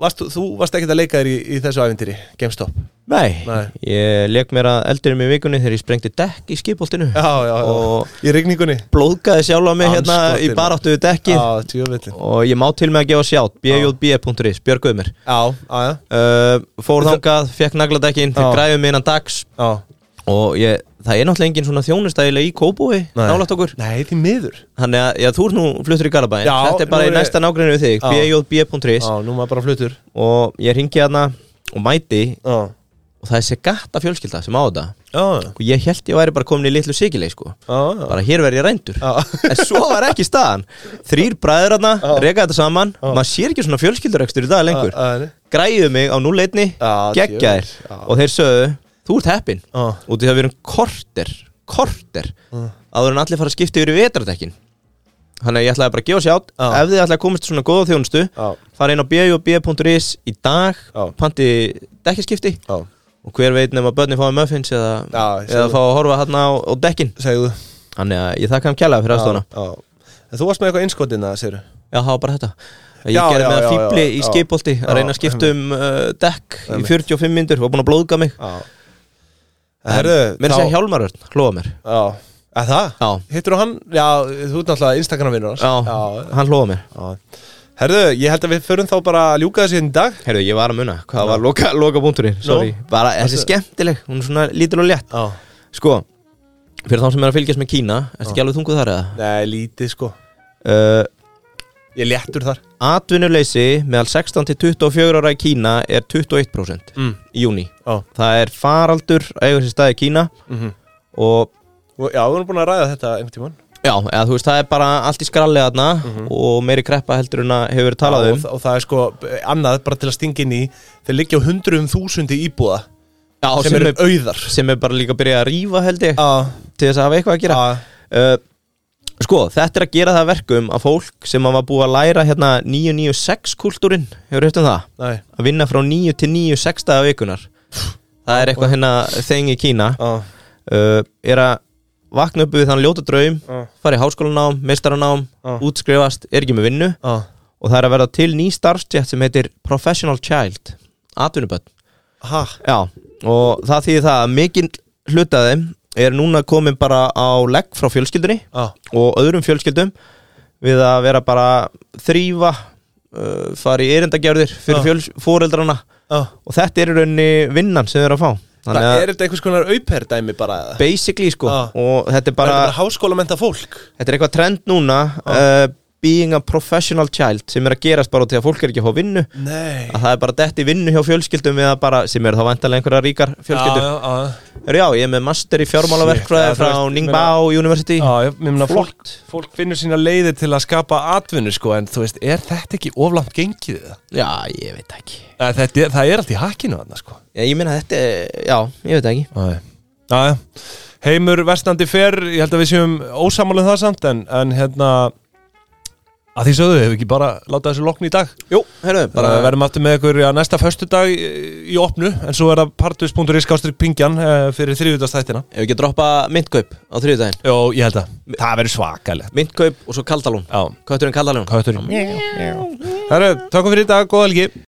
varst, þú varst ekkert að leika þér í, í þessu ævintýri, GameStop Nei, Nei. ég leik mér að eldurum í vikunni þegar ég sprengti dekk í skipoltinu Já, já, já, Og- í rigningunni Blóðgaði sjálfa mig hérna í Andskotinn. baráttu við dekkið Já, tjóðvillin Og ég má til mig að gefa sjátt bjb.is, björguðu mér Já, já, já, uh, Fór þangað, fekk nagladekkin, Já. þeir græfið mig innan dags já. Og ég, það er náttúrulega engin svona þjónustægilega í Kóbúi Nei. Nálægt okkur Nei, því miður Þannig að já, þú ert nú fluttur í Garabæn Já, Þetta er bara nú í er ég- næsta nágrinu við þig Já. bjb.is Já, nú maður bara flutur Og ég ringi hérna og mæti Já, Og það er Segata fjölskylda sem á þetta já, Og ég held ég væri bara komin í litlu sigileg sko já, já. Bara hér verð ég rændur já. En svo var ekki staðan Þrýr bræður hana, Já. reka þetta saman Maður sér ekki svona fjölskyldurekstur í dag lengur Já, já, Græðu mig á núleitni, Já, geggjær djöfull, já. Og þeir sögðu, þú ert heppin já. Út í það við erum korter, korter Já. Áður en allir fara að skipta yfir í vetardekkin Þannig að ég ætlaði bara að gefa sjátt Já. Ef þið ætlaði að komast í svona góða þjónustu Já, Fara inn á bjub.is í dag Já. Panti dekkaskipti já, Og hver veit nema börni fáið muffins eða, Já, ég sé eða það. fá að horfa hérna á, á dekkin segðu Þannig að ég þakka hann kjærlega fyrir aðstofna Já, já. En þú varst með eitthvað innskotina, segðu Já, það var bara þetta Ég Já, gerði já, með já, að fýbli já, í já. skipolti Já, að reyna að skipta um uh, dekk í Einmitt. 45 myndur og búin að blóðga mig Já Herðu, Mér er að segja hjálmarörn, hlóða mér Já, að það? Já, Hittur hann? Já, þú ert náttúrulega Instagram-vinnur já, já, hann hlóða mér já Herðu, ég held að við förum þá bara að ljúka þessu hérna í dag Herðu, ég var að muna, hvað var loka, loka búnturinn Sorry, bara þessi er skemmtileg Hún er svona lítil og létt Já Sko, fyrir þá sem er að fylgjast með Kína Ertu ekki alveg þunguð þar eða? Nei, lítið sko Uh, Ég léttur þar Atvinnuleysi meðal 16-24 ára í Kína er 21% mm. í júni Já Það er faraldur að eiga sér stað í Kína mm og Já, við erum búin að ræða þetta einhvern tímann Já, eða þú veist, það er bara allt í skralli þarna og meiri kreppa heldur en að hefur verið talað Mhm. Já, um og, og það er sko eh, annað bara til að stinga inn í þeir liggja á hundruðum þúsundi íbúða Já, sem, eru auðar sem er bara líka að byrja að rífa held ég Já, til þess að hafa eitthvað að gera já, uh, Sko, þetta er að gera það að verkum að fólk sem að var búið að læra hérna 996 kultúrin, hefur hefðið um það nei, að vinna frá 9 til 9 6 daga vikunar Það er eitthvað hérna þeng í Kína já, uh, er að vakna upp við þann ljóta draum já, fara í háskólanám, meistaranám, Ah. útskrifast er ekki með vinnu já, og það er að verða til ný starfstjætt sem heitir Professional Child atvinnuböld ha, Já, og það þýðir það að mikinn hluti af þeim er núna komin bara á legg frá fjölskyldunni já, og öðrum fjölskyldum við að vera bara þrýfa uh, fara í erindagjörðir fyrir Já. fjöls, fóreldrana já og þetta er í rauninni vinnan sem við erum að fá Það þannig að er þetta einhvers konar auperðæmi bara eða basically sko Já. og þetta er Bara, bara, bara háskólamenta fólk þetta er eitthvað trend núna uh, being a professional child sem er að gerast bara til að fólk er ekki að fá vinnu Nei að það er bara dett í vinnu hjá fjölskyldum eða bara, sem eru þá vantarlega einhverja ríkar fjölskyldur já, já, já, ég er með master í fjármálaverkfræði Shit, frá já, þú veist, Ningbao University já, já, mér meina Flott. fólk, fólk finnur sína leiðir til að skapa atvinnu sko En þú veist, er þetta ekki oflant gengið það? já, ég veit ekki Þetta, það er allt í hakkinu þarna sko já, ég meina þetta, er- já, ég veit ekki Nei. Næja, heimur vestandi fer, ég held að við séum ósamálið það samt en, en hérna að því sögðu, hefur ekki bara látað þessu lokn í dag jú, herru, bara bara uh, verðum aftur með ykkur ja, næsta föstudag í, í opnu en svo er það partus.is gástrík pingjan uh, fyrir þriðjúdastættina ef við ekki droppa myndkaup á þriðudaginn Jó, ég held að það verður svakalegt myndkaup og svo kaldalón Já, hvað er þetta um kaldalón? hvað þetta er? Herru, takk fyrir í dag, góða helgi